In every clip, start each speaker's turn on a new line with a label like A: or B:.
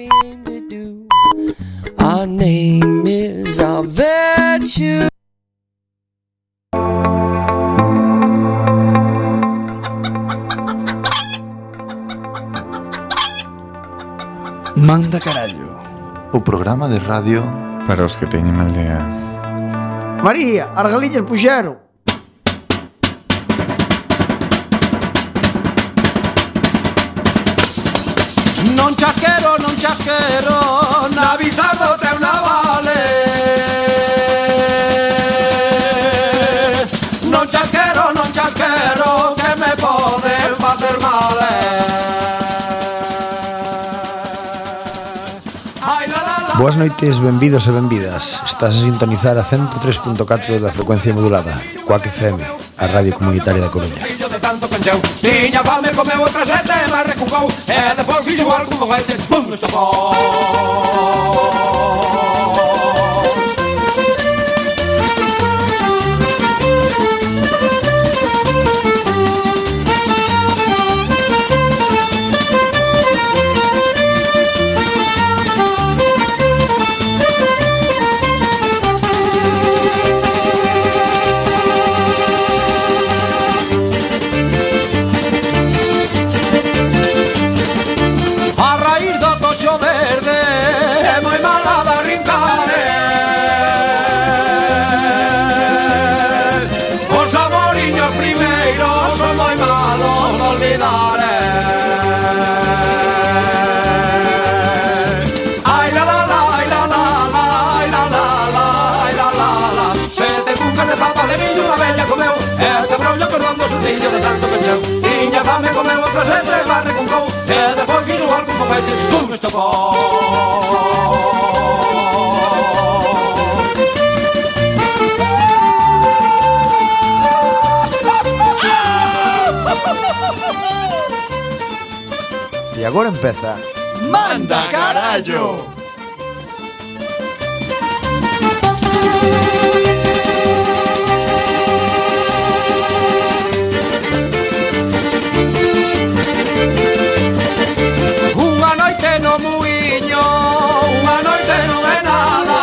A: queen to do. Our name is our virtue.
B: Manda carallo.
C: O programa de radio
D: Para os que teñen mal día
E: María, as galiñas puxeron.
F: Non chasquero, non chasquero Na Bizardo te una vale Non chasquero, non chasquero Que me poden facer mal eh. Ai, la, la, la.
B: Boas noites, benvidos e benvidas. Estás a sintonizar a 103.4 da frecuencia modulada, Coac FM, a radio comunitaria da Coruña.
F: Fillo de tanto pencheu Tiña fame, comeu outra sete e máis recucou E depois fixo algún foguete Pum, estopou A raíz do toxo verde É moi mala da rincare Os amoriños primeiros Son moi malos de olvidar eh. Ai la la la, ai la la la Ai la la la, ai la la la Sete cucas de papa de millo Unha bella comeu E te brollo cordón do sustillo de tanto pecheu Tiña fame comeu outra sete e barre con cou E depois fixo algo con feites Pum, estopou
B: E agora empeza
F: Manda carallo. Unha noite no muiño, unha noite non é nada.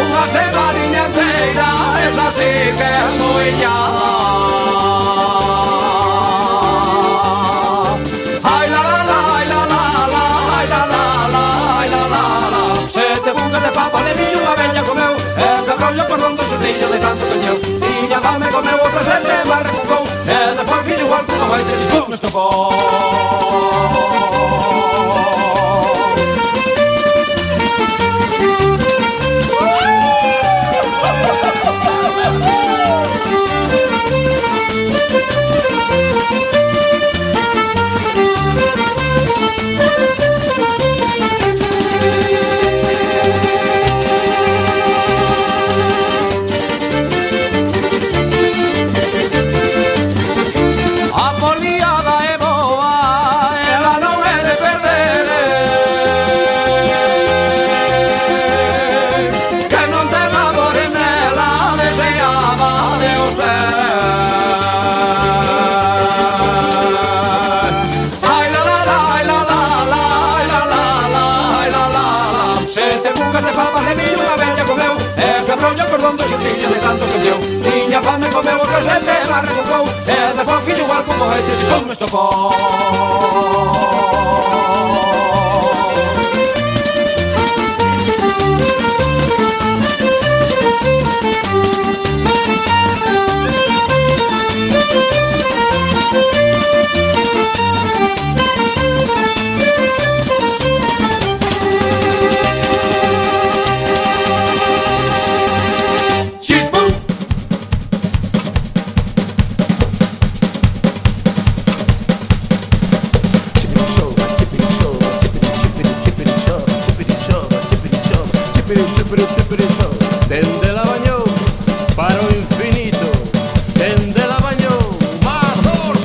F: Unha semaniña inteira, esa sí que é muiñada. Ai la la la, ai la la la, ai la la la, ai la la la. Sete bucas de papa de millo unha bella comeu, e que rollo cordón do xurrillo de tanto cañeu. Tiña fame comeu outra sete, mas recucou, e depois fixo igual eh, que unha baita chitón estofou. A foliada é boa, ela non é e de perder eh. Que non ten amores nela, deseaba de os ter Ai la la la, ai la la la, ai la la la, ai la la la Sete cucas de papas de millo unha bella comeu E quebrou o cordón do xustillo de tanto que encheu Tiña fame comeu o sete e barra cucou E depois fixo igual como este se como estofou Chispum! Dende la bañou para o infinito Dende la bañou Mallorca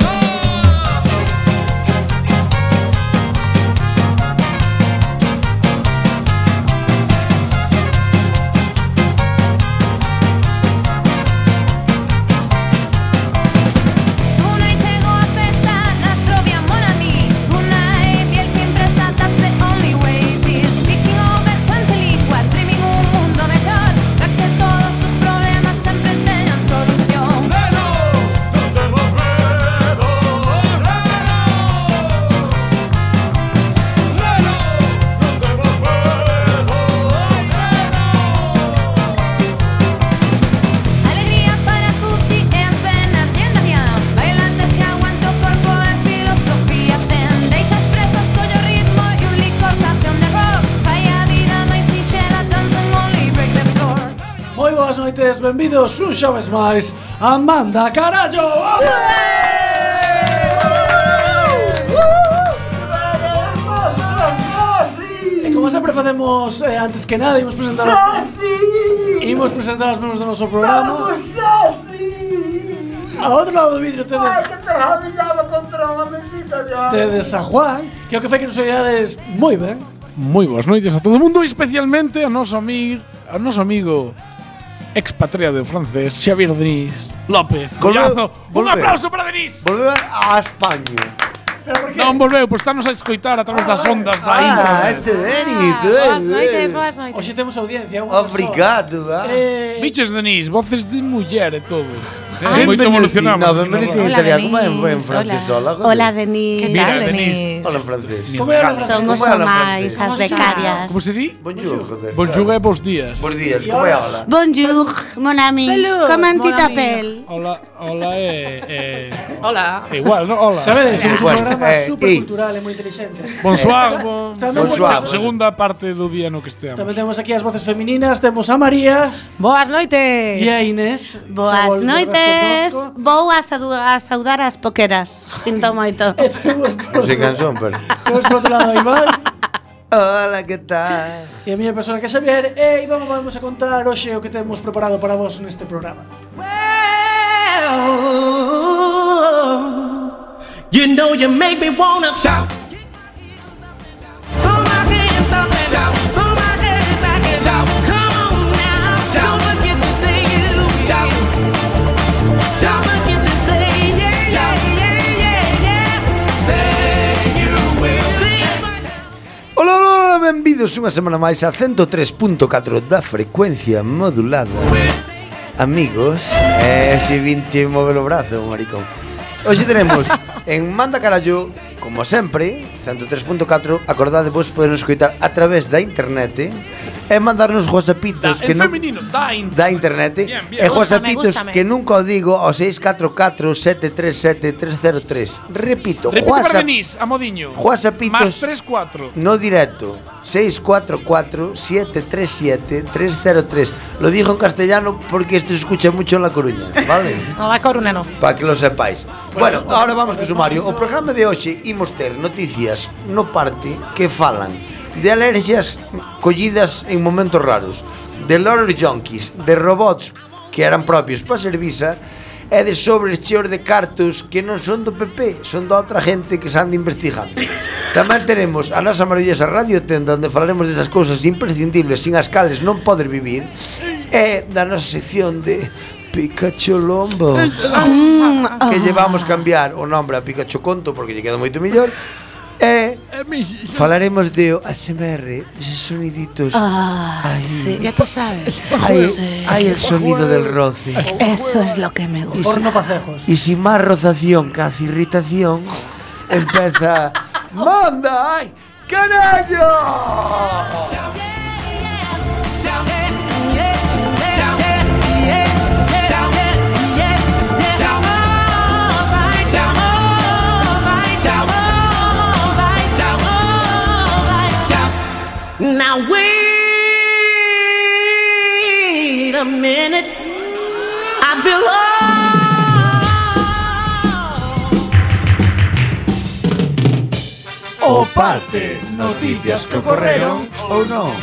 G: Una y llegó a pesar, astro mi amor
E: noites, benvidos un xoves máis a Manda Carallo! E como sempre facemos eh, antes que nada, imos presentar os... Imos presentar os membros do noso programa. A outro lado do vidro tedes tedes a Juan, que é o que fai que nos oiades moi ben.
H: Moi boas noites a todo mundo, e especialmente ao noso amigo, ao noso amigo expatriado francés, Xavier Denis López.
B: Volveu,
H: Collazo. Un
B: volveu.
H: aplauso para Denis.
B: Volveu a España.
H: Non volveu, pois estános a escoitar a través das ondas da
B: Ah,
H: internet.
B: este Denis.
I: Boas noites, boas noites.
E: Hoxe temos audiencia, unha
B: Obrigado, ah.
E: persoa. Eh,
H: Biches Denis, voces de muller e todo.
I: Ah,
H: Eh, moito
I: sí.
H: evolucionamos.
B: No, benvenuti.
H: non?
I: Hola,
B: italiano, como é en- en
I: Denis.
B: francés,
I: Hola,
B: hola,
I: Hola, Denis.
H: Mira, Denis.
B: Hola, francés.
E: Como é o nome?
I: Son os
B: Como era
I: amais,
B: francés?
I: as becarias.
H: Como se di?
B: Bonjour, joder.
H: Bonjour e bons días.
B: Bons días, como é ahora?
I: Bonjour, mon ami.
J: Salut,
I: Comment tu
J: mon ami.
I: t'appelles?
H: Hola, hola e... e-
J: Hola.
H: e Igual, non? Hola.
E: Sabedes, somos un
B: Bueno,
E: programa
B: eh,
E: supercultural e moi inteligente.
H: Bonsoir, bon...
E: Tamén
H: Bonsoir.
B: temos-
H: Segunda parte do día no que esteamos.
E: Tamén temos aquí as voces femininas, temos a María
J: Boas noites.
E: e a Inés. Xa
I: Boas
E: volveu
I: noites.
E: connosco.
I: Vou a, sadu- a saudar as poqueras. Sinto moito.
E: E temos por,
B: Sin canción, pero...
E: temos por outro lado a Iván
B: Hola, que tal?
E: e a miña persona que é Xavier. E Iván vamos a contar hoxe o que temos preparado para vos neste programa.
F: You know you make me wanna shout.
B: Hola, hola, hola, benvidos unha semana máis a 103.4 da frecuencia modulada Amigos, eh, si vinche mover o brazo, maricón Hoxe tenemos en Manda Carallo, como sempre, 103.4 Acordade vos podernos escoitar a través da internet eh, E mandarnos
H: Da,
B: gozapitos
H: en
B: que non...
H: femenino, da in-
B: da internet
H: Bien, bien.
B: e
I: Gústame,
B: Juasapitos
I: gústame.
B: que nunca o digo ao 644-737-303
H: Repite
B: repito,
H: para
B: Juasa,
H: Denis, a modiño.
B: Juasapitos.
H: Más 3, 4.
B: no directo 644-737-303 lo dijo en castellano porque esto se escucha mucho en La Coruña vale
J: No, a Coruna no.
B: para que lo sepáis. Bueno, ahora vamos co sumario. O programa de hoxe imos ter noticias no parte que falan de alergias collidas en momentos raros, de lorry junkies, de robots que eran propios para Servisa e de sobres cheos de cartos que non son do PP, son da outra gente que se anda investigando. Tamén teremos a nosa maravillosa radio tenda onde falaremos desas cousas imprescindibles sin as cales non poder vivir e da nosa sección de Pikachu Lombo
I: Ah.
B: que llevamos cambiar o nombre a Pikachu Conto porque lle queda moito mellor e falaremos de ASMR, deses soniditos.
I: Ah, sí, ya tú sabes.
B: Hay, hay el sonido del roce.
I: Eso es lo que me gusta.
E: Porno pacejos.
B: Y sin más rozación, casi irritación, empieza ¡Manda! ¡Ay! ¡Canallo!
J: Now wait a minute. I belong.
B: O parte, noticias que ocorreron ou non.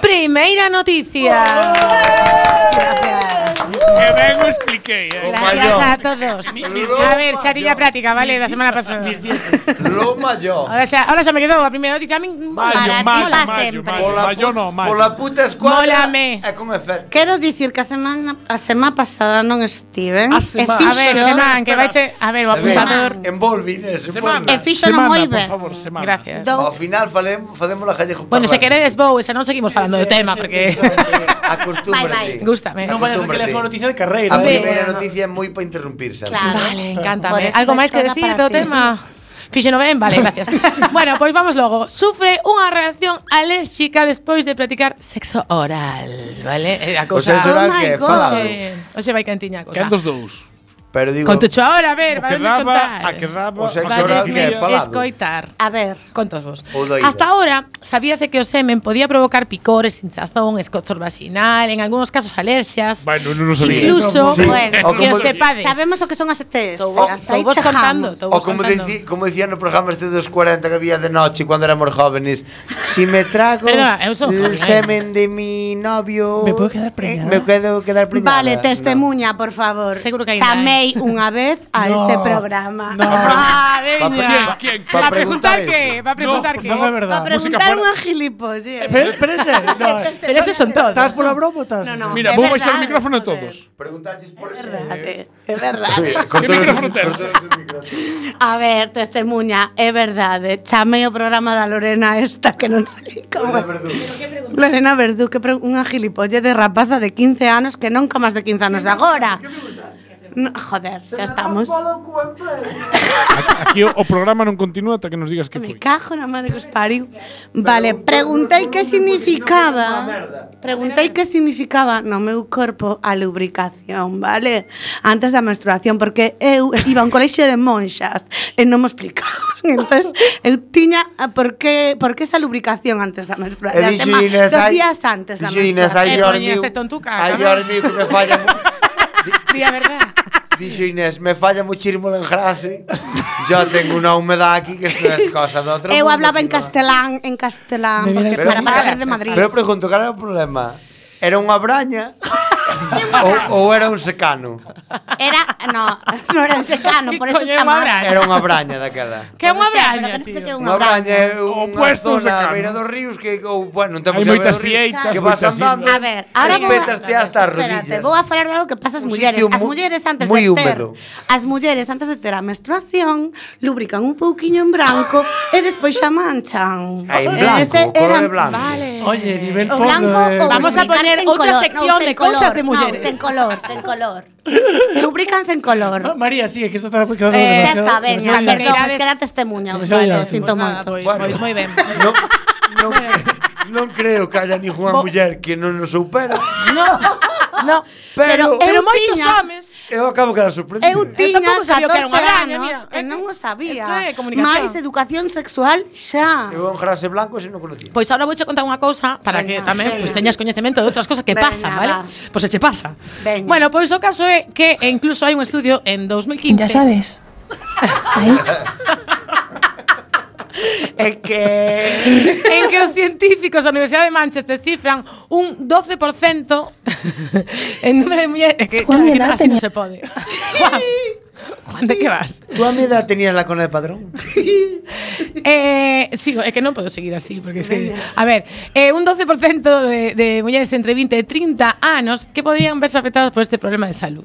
J: Primeira noticia. Oh! Gracias.
H: Que ben o expliquei, eh.
J: Gracias a todos. A ver, xa tiña práctica, vale, da semana pasada.
B: Lo mayor.
J: Ahora xa, ahora xa me quedou a primeira noticia. A min
I: Para ti,
H: mayo,
I: pa
H: mayo,
I: sempre.
H: mayo, mayo, no, mayo.
B: Pola puta escuadra
J: Mólame.
B: e con efecto.
I: Quero dicir que a semana a semana pasada non estiven.
H: A semana-
I: E
J: eh. A ver,
I: fixo-
J: Semán, que vaiche, a ver, o apuntador.
B: Envolve, Inés,
H: Semana,
I: E fíxono
H: semana,
I: moi ben.
H: por favor, semana.
J: Gracias.
I: dou-
B: Ao final falemos, facemos la callejo
J: Bueno, se
B: parranda.
J: queredes vou, esa non seguimos falando do tema porque
I: Vai,
B: Acostúmbrate.
I: vai.
J: gústame.
E: Non vayas a que leas unha noticia de carreira.
B: A
J: Hombre.
E: eh.
B: primeira noticia é moi para interrumpir, sabes?
I: Claro.
J: Vale, encántame.
I: Podes
J: Algo
I: ter
J: máis que
I: toda
J: decir
I: para
J: do
I: ti.
J: tema? Fixe no ben, vale, gracias. bueno, pois vamos
E: Oh,
J: logo. Sufre unha reacción alérxica despois de practicar sexo oral, vale? É a
B: O
J: cousa.
E: Eh,
B: sexo oral
I: Oh
B: que
I: my
B: é
I: God.
B: falado.
J: Oxe, oxe vai cantiña a cousa.
H: Quen dos dous?
B: Pero digo,
E: Contecho ahora, a ver, para vernos
K: Quedaba, a
E: contar.
K: quedaba,
B: O sea, que
K: a
B: ahora
K: ver,
B: que é
K: Silvia.
B: fa- falado.
E: Escoitar.
J: A ver,
E: Contos vos.
B: O do oído.
E: Hasta ahora, sabíase que o semen podía provocar picores, hinchazón, escozor vaginal, en algunos casos alerxias.
K: Bueno, non o sabía.
E: Incluso,
B: Sí.
J: Bueno,
E: que
B: como-
E: os sepades.
J: sabemos o que son E as ETs.
E: Estou vos,
J: Hasta aí
E: estou vos contando,
J: chegamos.
E: estou
B: o
E: vos
B: como,
E: contando.
B: dici, como decían los programas este de dos 40 que había de noche cuando éramos jóvenes, si me trago
E: Perdona, eu son joven,
B: el
E: eh.
B: semen de mi novio,
L: Me
B: eh,
L: puedo quedar preñada?
B: me puedo quedar preñada.
J: Vale, testemunha, por favor.
E: Seguro que hai
J: Chamei unha vez a
L: No,
J: ese programa.
L: no.
E: Ah, veña.
B: pa-
E: ¿Quién,
B: pa-
E: Para
B: pa preguntar
E: preguntar qué, para preguntar qué.
L: No es verdad.
J: Para
K: música
J: preguntar
K: fuera.
J: unha gilipollez.
L: Pero, pero en serio, no, eh.
E: Pero esos son todos.
L: ¿Estás por la broma o estás?
J: No, no.
K: Mira,
E: É
K: vou baixar o
E: verdade,
K: micrófono a
E: joder.
K: todos.
B: Preguntarles por
J: É
B: ese-
J: verdade, é verdade.
K: Que micrófono ten?
J: A ver, testemunha, é verdade. Chamei o eh, programa da Lorena esta que non sei como. é. Lorena Verdú, que pre- unha gilipolle de rapaza de 15 anos que non comas de 15 anos de agora. No, joder, xa estamos.
K: Aquí o, o programa non continúa ata que nos digas que foi.
J: Me cajo na madre que os pariu. Vale, preguntei que
B: ah,
J: significaba. Preguntei que significaba no meu corpo a lubricación, vale? Antes da menstruación, porque eu iba a un colexio de monxas e non me explicaban. Entón, eu tiña a por que, por que esa lubricación antes
B: E
J: da menstruación.
B: dixo Inés,
J: dos
B: ai-
J: días antes da
B: dixo Inés,
J: menstruación.
B: ai,
E: Eh,
B: Dios
E: poñeste
B: mío,
E: tontuca,
B: ai,
E: tamén.
B: Dios mío, que me falla. mu-
J: Eh,
E: Di a verdade.
B: Dixo Inés, me falla muchísimo el engrase. Yo tengo una humedad aquí que esto es cosa de otro
J: Eu
B: mundo,
J: hablaba en
B: que no-
J: castelán, en castelán,
L: Me viene
J: porque
L: que
J: para
B: te
J: falar
B: cagas.
J: de Madrid.
B: Pero pregunto, cal era o problema? Era unha braña ou, ou era un secano?
J: Era, no, non era un
E: Que
J: secano, por eso
E: coño é unha
J: chamaba.
E: braña?
B: Era unha braña daquela.
E: Que é unha
J: O sea,
E: braña,
J: pero
E: tío.
J: parece que é
B: Unha braña é unha
K: Opuesto a un
B: zona a
K: secano.
B: beira dos ríos que, ou, bueno, non
K: Hai
B: temos
K: moitas
B: ríos
K: fieitas,
B: que vas
K: moitas
B: andando.
J: A ver, ahora vou
B: petas te hasta as
J: Espérate,
B: rodillas.
J: vou a falar de algo que pasa as
B: Un
J: mulleres.
B: sitio
J: As
B: mu-
J: mulleres antes
B: moi
J: de ter
B: húmedo.
J: as mulleres antes de ter a menstruación lubrican un pouquiño en branco e despois xa manchan.
B: Ah, en blanco, o color é blanco.
J: Vale.
L: Oye, nivel
J: O
L: porno
J: blanco
L: de-
J: o
E: Vamos a
J: lubricanse
E: poner
J: en
E: otra
J: color.
E: sección
J: No, sen
E: de cosas
J: color,
E: de mujeres.
J: No, sen color, sen color. Lubricanse en color.
L: Ah, María, sigue, que esto está quedando
E: Eh,
J: Xa
L: demasiado-
J: está,
L: demasiado
J: veña,
E: demasiado
J: perdón,
E: ya.
J: es que era testemunha, o
L: Demasiado
J: sea, lo
L: ya.
J: sinto
E: Pois nada,
J: moito.
E: Pois,
B: Bueno.
E: pois moi ben.
B: Non, non, non creo que haya ninguna
E: Bo-
B: muller que non nos supera.
E: No, no.
B: Pero,
E: Pero
J: Eu
E: moitos
J: tiña-
E: homes
B: eu acabo de quedar sorprendido.
J: Eu tiña
E: tampouco sabía o que era unha
J: 14
E: araña,
J: anos
E: mira.
J: e non o sabía.
E: Eso é comunicación.
J: Mais educación sexual xa.
B: Eu un grase blanco se non conocía.
E: Pois ahora vouche contar unha cousa para que
J: Veña,
E: tamén
J: veña.
E: pois teñas coñecemento de outras cousas que
J: Veña,
E: pasan, vale?
J: va.
E: Pois se che pasa.
J: Veña.
E: Bueno, pois o caso é que e incluso hai un estudio en 2015. Ya sabes.
J: É que...
E: en que os científicos da Universidade de Manchester cifran un 12% en número de mulleres que Juan, claro, así non se pode. Juan, Juan, de que vas?
B: Tú a mi edad tenías la cona de padrón?
E: Eh, sigo, é que non podo seguir así porque se, a ver, eh, un 12% de, de mulleres entre 20 e 30 anos que podrían verse afectados por este problema de salud.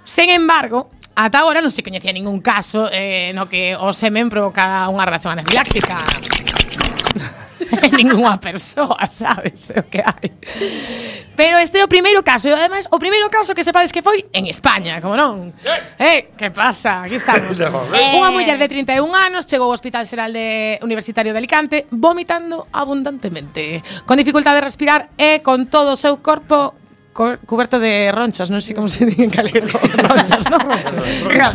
E: Sen embargo, ata agora non se coñecía ningún caso eh, no que o semen provocara unha reacción anafiláctica. En ninguna persoa, sabes o que hai. Pero este é o primeiro caso, e ademais o primeiro caso que sepades que foi en España, como non? Eh, que pasa? Aquí estamos.
J: Eh.
E: Unha muller de 31 anos chegou ao Hospital Xeral de Universitario de Alicante vomitando abundantemente, con dificultade de respirar e con todo o seu corpo co- cuberto de ronchas, non sei como se di en galego, ronchas, non?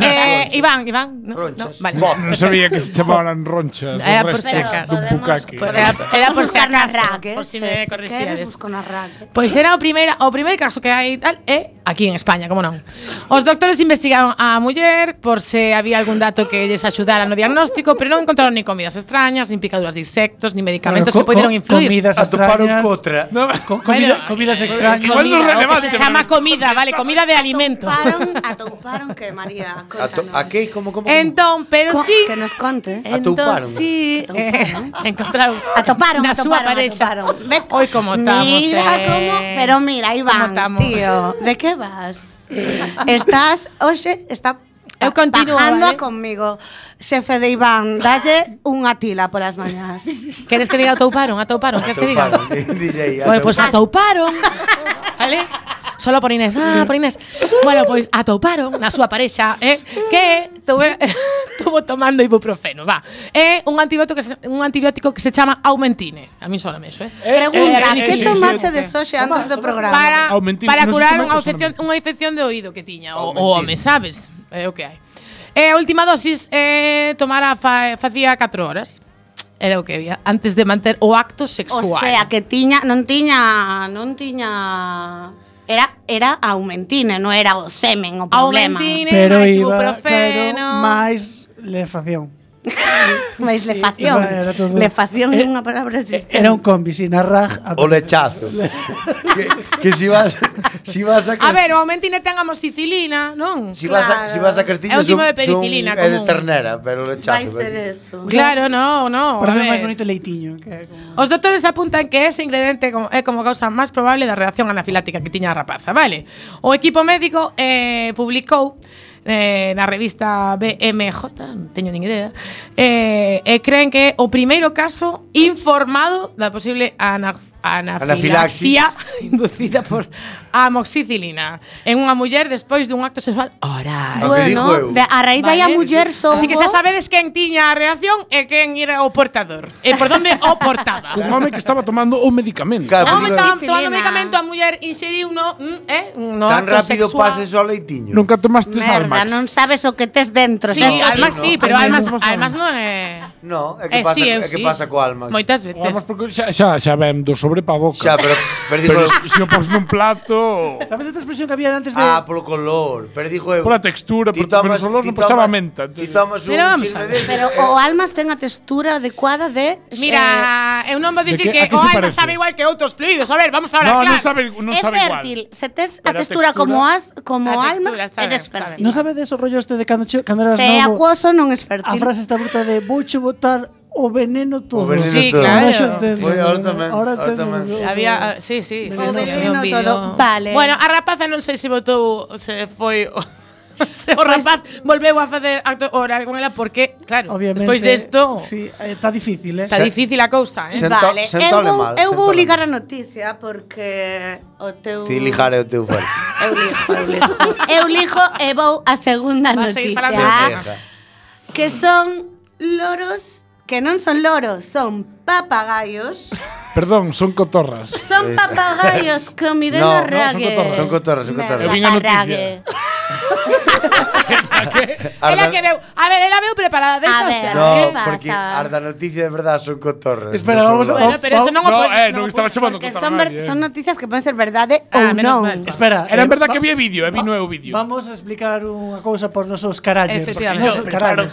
E: eh, Iván, Iván, no,
B: Ronchas.
E: no, vale.
K: Non sabía que se chamaban ronchas.
E: Era
K: os
E: por
K: restos
E: si acaso.
K: dun bucaque.
E: Podemos- Era- era por si acaso, por si me corrixíades.
J: eh, corrixíades. busco na raque.
E: Pois era o primeiro o primeiro caso que hai tal é aquí en España, como non. Os doctores investigaron a muller por se había algún dato que lles axudara no diagnóstico, pero non encontraron ni comidas extrañas, nin picaduras de insectos, ni medicamentos
L: Bueno,
E: que poderon
L: co-
E: influir.
L: Comidas extrañas.
K: No,
L: co- comida-
E: Bueno,
L: comidas
E: eh,
L: extrañas.
K: Igual non
E: comida, o
K: relevante,
E: que se chama
K: pero-
E: comida, vale, comida de alimento.
J: Atouparon, atouparon que, María,
B: A, to,
J: contanos.
B: a que? Como, como?
E: Entón, pero
J: Co-
E: sí,
J: Que nos conte.
B: Atouparon.
E: entón, sí, eh, encontraron
J: Atoparon,
E: na súa
J: atoparon,
E: parexa.
J: atoparon. Ve-
E: Hoy como estamos,
J: Mira
E: eh.
J: como, pero mira, aí
E: Como
J: van,
E: estamos.
J: tío. De que vas? Estás, hoxe, está
E: Eu
J: pa-
E: continuo,
J: bajando
E: vale?
J: conmigo. Xefe de Iván, dalle unha tila polas mañás.
E: Queres que diga atouparon, atouparon, queres que diga?
B: Atouparon, DJ,
E: Bueno, pues
B: atouparon.
E: atouparon. ¿Vale? Solo por Inés. Ah, por Inés. Bueno, pois atouparon na súa parexa, eh, que tuve
M: Estuvo tomando ibuprofeno, va. É un antibiótico que se, un antibiótico que se chama Aumentine. A mí só me eso, eh.
J: Pregunta,
M: eh,
J: que
M: sí, sí,
J: tomache
M: sí.
J: de soxe antes do programa?
M: Para,
H: Aumentine,
M: para
H: non sei
M: curar
H: tomar
M: unha
H: cosa,
M: infección, unha infección de oído que tiña o, o home,
B: Aumentine.
M: sabes? É o que hai. E a última dosis eh, tomara fa, facía 4 horas. Era o que había antes de manter o acto
J: O
M: sexual.
J: sea, que tiña, non tiña, non tiña Era era aumentine, non era o semen o problema.
M: Aumentine,
E: Pero
M: máis
E: iba,
M: ibuprofeno.
E: claro, máis lefación.
J: Mais lefación.
E: Iba, era todo-
J: Lefación é
E: Eh,
J: unha
E: E-
J: palabra existente.
E: Era un combi sin arraj. a-
B: O lechazo. que, que si vas si vas a
M: A ver, o Aumentine ten amoxicilina, non?
B: si vas a,
J: claro.
B: si vas a
M: É
B: Castilla
M: o tipo
B: son-
M: de penicilina
B: son- é de
M: común.
B: ternera, pero pues. lechazo.
E: eh.
J: Vai ser eso.
M: Claro, no, no. a
E: Parece
M: ver.
E: máis bonito leitiño. Que é como...
M: Os doctores apuntan que ese ingrediente como, é como causa máis probable da reacción anafilática que tiña a rapaza, vale? O equipo médico eh, publicou eh, na revista BMJ, non teño nin idea, eh, e creen que é o primeiro caso informado da posible ana-
B: Anafilaxis.
M: anafilaxia inducida por amoxicilina en unha muller despois dun acto sexual
B: O
M: oral.
B: que digo eu.
J: Bueno, de, a raíz dai a
M: Vale,
J: muller
M: sí.
J: só.
M: Así que xa sabedes quen tiña a reacción e quen era o portador. E por donde o portaba.
H: Un home que estaba tomando un medicamento.
B: Claro,
M: Home,
B: digo,
M: estaban
J: Filina.
M: tomando medicamento, a muller inseriu no, mm, eh, no
B: tan
M: acto
B: rápido
M: sexual.
B: pases ao leitiño.
H: Nunca tomaste al
J: Merda,
H: Max.
J: non sabes o que tes dentro.
M: Sí,
J: xa
M: además
J: che
M: sí,
J: digo.
M: pero
H: Ai,
M: además,
H: non pasa
M: además
H: nada.
M: non é...
B: No, é que
M: Eh,
B: pasa,
M: sí, eu
B: é que
M: sí.
B: pasa co alma.
M: Moitas veces.
H: Además, porque xa, xa, xa ven do sobre pa boca.
B: Xa, pero, pero digo,
H: pero se o pos nun plato...
E: Sabes esta expresión que había antes de...
B: ah, polo color, pero digo eu.
H: Pola textura,
B: ti
H: por- pero
B: tomas-
H: os olores
B: ti
H: non pois pasaba
B: tomas-
H: menta,
B: Ti
H: entonces.
B: tomas un
M: Pero vamos a
B: chisme
M: ver.
B: de
J: Pero o almas ten a textura adecuada de eh,
M: Mira, eu non vou
H: De
M: dicir
H: que- a
M: que,
H: que
M: o
H: se
M: alma
H: parece?
M: sabe igual que outros fluidos. A ver, vamos a hablar
H: No, non
M: claro.
H: sabe, non
J: é
H: sabe
J: fértil.
H: igual.
J: Se tes a
H: Pero a
J: textura,
H: textura-
J: como as como
M: a textura,
J: almas,
M: sabe,
J: eres
M: sabe.
J: fértil.
E: Non sabes de esos rollos de cando, che- cando eras
J: se é
E: novo?
J: acuoso non es fértil.
E: A frase está bruta de vouche botar o veneno todo.
B: O veneno
M: Sí,
B: todo.
M: claro.
E: Ahora yo te-
B: Foi, ahora tamén,
E: Ahora
B: ahora
E: te-
B: tamén.
M: Había, ah, sí, sí, sí, sí,
E: O
J: veneno
M: un vídeo.
J: todo. Vale.
M: Bueno, a rapaza non sei se votou, se foi o, se o rapaz volveu a facer acto oral con ela porque, claro,
E: Obviamente.
M: despois desto
E: Sí, eh, está difícil, eh.
M: está difícil a cousa, eh.
B: Se- Sento-
J: vale, eu
B: sentóle
J: vou,
B: mal,
J: eu vou
B: sentóle
J: ligar a
B: mal.
J: noticia porque o teu
B: Ti lijare o teu fuerte.
J: Eu lixo, eu lixo. eu lixo e vou a segunda
M: Vas a seguir
J: noticia,
M: falando de
J: ah,
M: tema.
J: que son loros que non son loros, son papagaios.
H: Perdón, son cotorras.
J: Son papagaios que o
B: Eh.
J: miren
B: No,
J: no,
B: no, son
J: rague.
H: cotorras,
B: son cotorras, son cotorras.
H: Eu vin a noticia.
M: Ela que veu, a ver, ela veu preparada
J: A
M: desta
J: ver,
M: xa.
J: ¿Qué
B: No,
J: pasa?
B: porque arda noticia de verdad son cotorras. no
E: Espera,
B: son
E: vamos a-
B: loros.
M: Bueno, pero eso non o
H: no,
M: podes-
H: eh,
M: non
H: non
M: o
H: estaba
M: podes-
H: chamando
J: Porque son,
H: cotorra.
J: ver- son noticias que poden ser verdade
M: Ah,
J: ou
M: menos
J: non.
M: mal.
E: Espera.
H: Era
E: eh,
H: verdad
E: va-
H: que había vídeo, había nuevo vídeo.
E: Vamos a explicar unha cousa por nosos caralles.
M: Efectivamente.
E: Nosos caralles.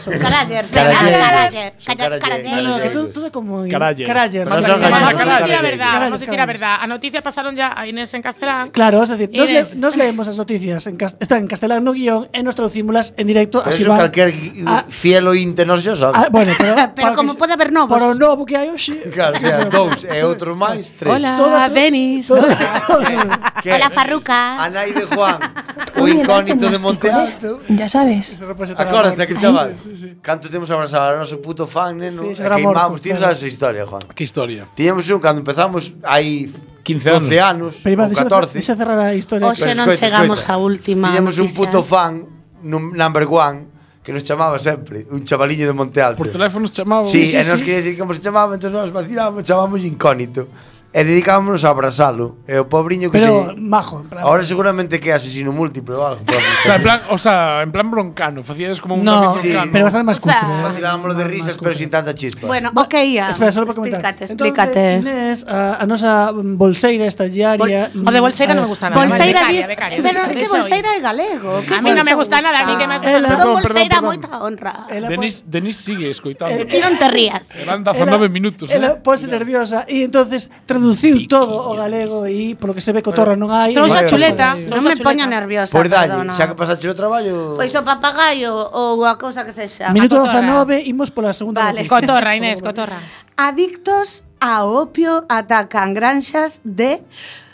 B: Carallers,
J: Carallers, venga,
B: son
J: carallers,
B: carallers.
E: No, no, que
J: carallers.
E: todo, todo como...
H: Caralles.
E: Caralles.
B: Pero
E: no,
B: son
E: caralles.
M: Vamos a dicir a
B: Caralles.
M: verdade, vamos a dicir a
E: Caralles.
M: verdade. A noticia pasaron ya a Inés en castelán.
E: Claro, es decir, nos,
M: Inés.
E: le- nos leemos las noticias, en cas- están en castellano guión, en nuestras címulas en directo,
B: Pero
E: así
B: eso
E: va.
B: cualquier
E: Ah,
B: fiel ointe nos yo sabe.
E: ah, bueno, pero,
J: Pero como pode haber novos.
E: Para o novo que hai hoxe.
M: Ah,
B: Claro, o sea, dous e outro máis, tres.
E: Toda-
M: Denis.
E: todo-
B: Que
J: Hola, Farruca.
B: A nai de Juan, o incógnito de Monte Alto.
I: ¿eh? Ya sabes.
B: Acuérdate aquel chaval. Canto temos abrazado a noso puto fan, neno.
E: Sí,
B: Sí,
E: será morto,
B: queimamos, ti non
E: claro.
B: sabes a historia, Juan.
H: Qué historia.
B: Tiñamos un cando empezamos hai
H: 15 anos.
B: 12 anos,
E: Pero iba,
B: ou
E: deixa,
B: 14.
E: deixa cerrar a historia.
J: Oxe,
B: Pero
J: non
B: escoita,
J: chegamos
B: escoita.
J: á última
B: Tiñamos un
J: noticia. eh.
B: puto fan, num- number one, que nos chamaba sempre, un chavaliño de Monte Alto.
H: Por teléfono chamaba.
B: Sí, e nos quería dicir como se chamaba, entón nos vacilábamos, chamábamos incógnito. E dedicámonos a abrazalo. E o pobriño que se...
E: Pero majo, en plan.
B: Ahora seguramente que é asesino múltiple ou algo.
H: O sea, en plan, o sea, en plan broncano, facíades como un
E: no,
H: David
B: sí,
H: broncano.
E: pero bastante más
J: O sea,
E: cutre. eh.
B: Vacilábamos de risas, pero sin tanta chispa.
J: Bueno, ok, ia.
E: Espera, solo para comentar. Entonces,
J: Explícate, explícate.
E: Inés, a, a nosa mm, bolseira mm, estagiaria...
M: Bol- o de bolseira non me gusta nada.
J: Bolseira
M: Becaria,
J: dis...
M: becaria,
J: Pero
M: deixa-
J: é que
M: deixa
J: Bolseira é galego. que
M: A mí non me gusta nada, a mí que máis me
H: Perdón,
E: Ela-
J: Son
H: perdón,
J: Bolseira
H: perdón.
J: moita honra.
H: Denis, Denis sigue escoitando.
J: Ti non te rías.
H: Eran 19 minutos. eh.
E: Ela pose nerviosa e entonces traduciu todo o galego e polo que se ve cotorra non hai.
M: Trouxe a
B: Vale,
M: chuleta.
J: Non
M: trouxe a
J: me
M: chuleta.
J: poño nerviosa,
B: Por dalle,
J: perdona.
B: xa que pasaxe o traballo...
J: Pois Pues o papagaio ou a cousa que sexa.
E: Minuto
M: cotorra.
E: 19, imos pola segunda
J: Vale.
E: noticia.
M: Cotorra, Inés, cotorra.
J: Adictos ao opio atacan granxas de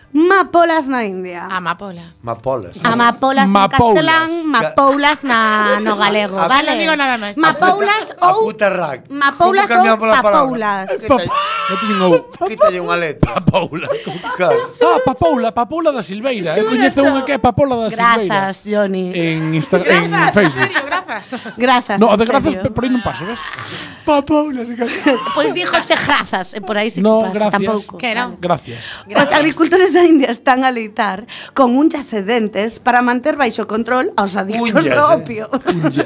J: Ah, mapolas na India.
M: Amapolas.
B: Mapolas.
J: Ah, Amapolas en
H: Mapoulas.
J: castelán, mapoulas na no galego,
B: A-
J: vale?
M: Non digo nada máis.
J: Mapoulas
B: A
J: ou
B: puta rack.
J: Mapoulas
B: Como cambiamos
J: ou
B: la palabra?
J: papoulas?
H: Non tiñen ou.
B: Quítalle unha letra.
H: Paula.
B: Claro.
H: Ah, Papoula, Papoula da Silveira. Eu coñezo unha Eh, que é Papoula da Silveira.
J: Grazas, Johnny.
B: Eh.
H: En Instagram, en
M: Grazas, en
H: Facebook.
M: serio, grazas. grazas.
J: Grazas.
H: No,
J: en
H: de grazas,
J: serio.
H: pe- por aí non paso, ves?
J: Pois díjoche grazas, e por aí sí que
H: No,
J: pasa,
H: gracias.
J: tampouco.
M: Que non.
H: Gracias.
J: Os agricultores da India están a leitar con unchas e dentes para manter baixo control aos adictos
B: Unllas,
J: do
B: eh.
J: opio.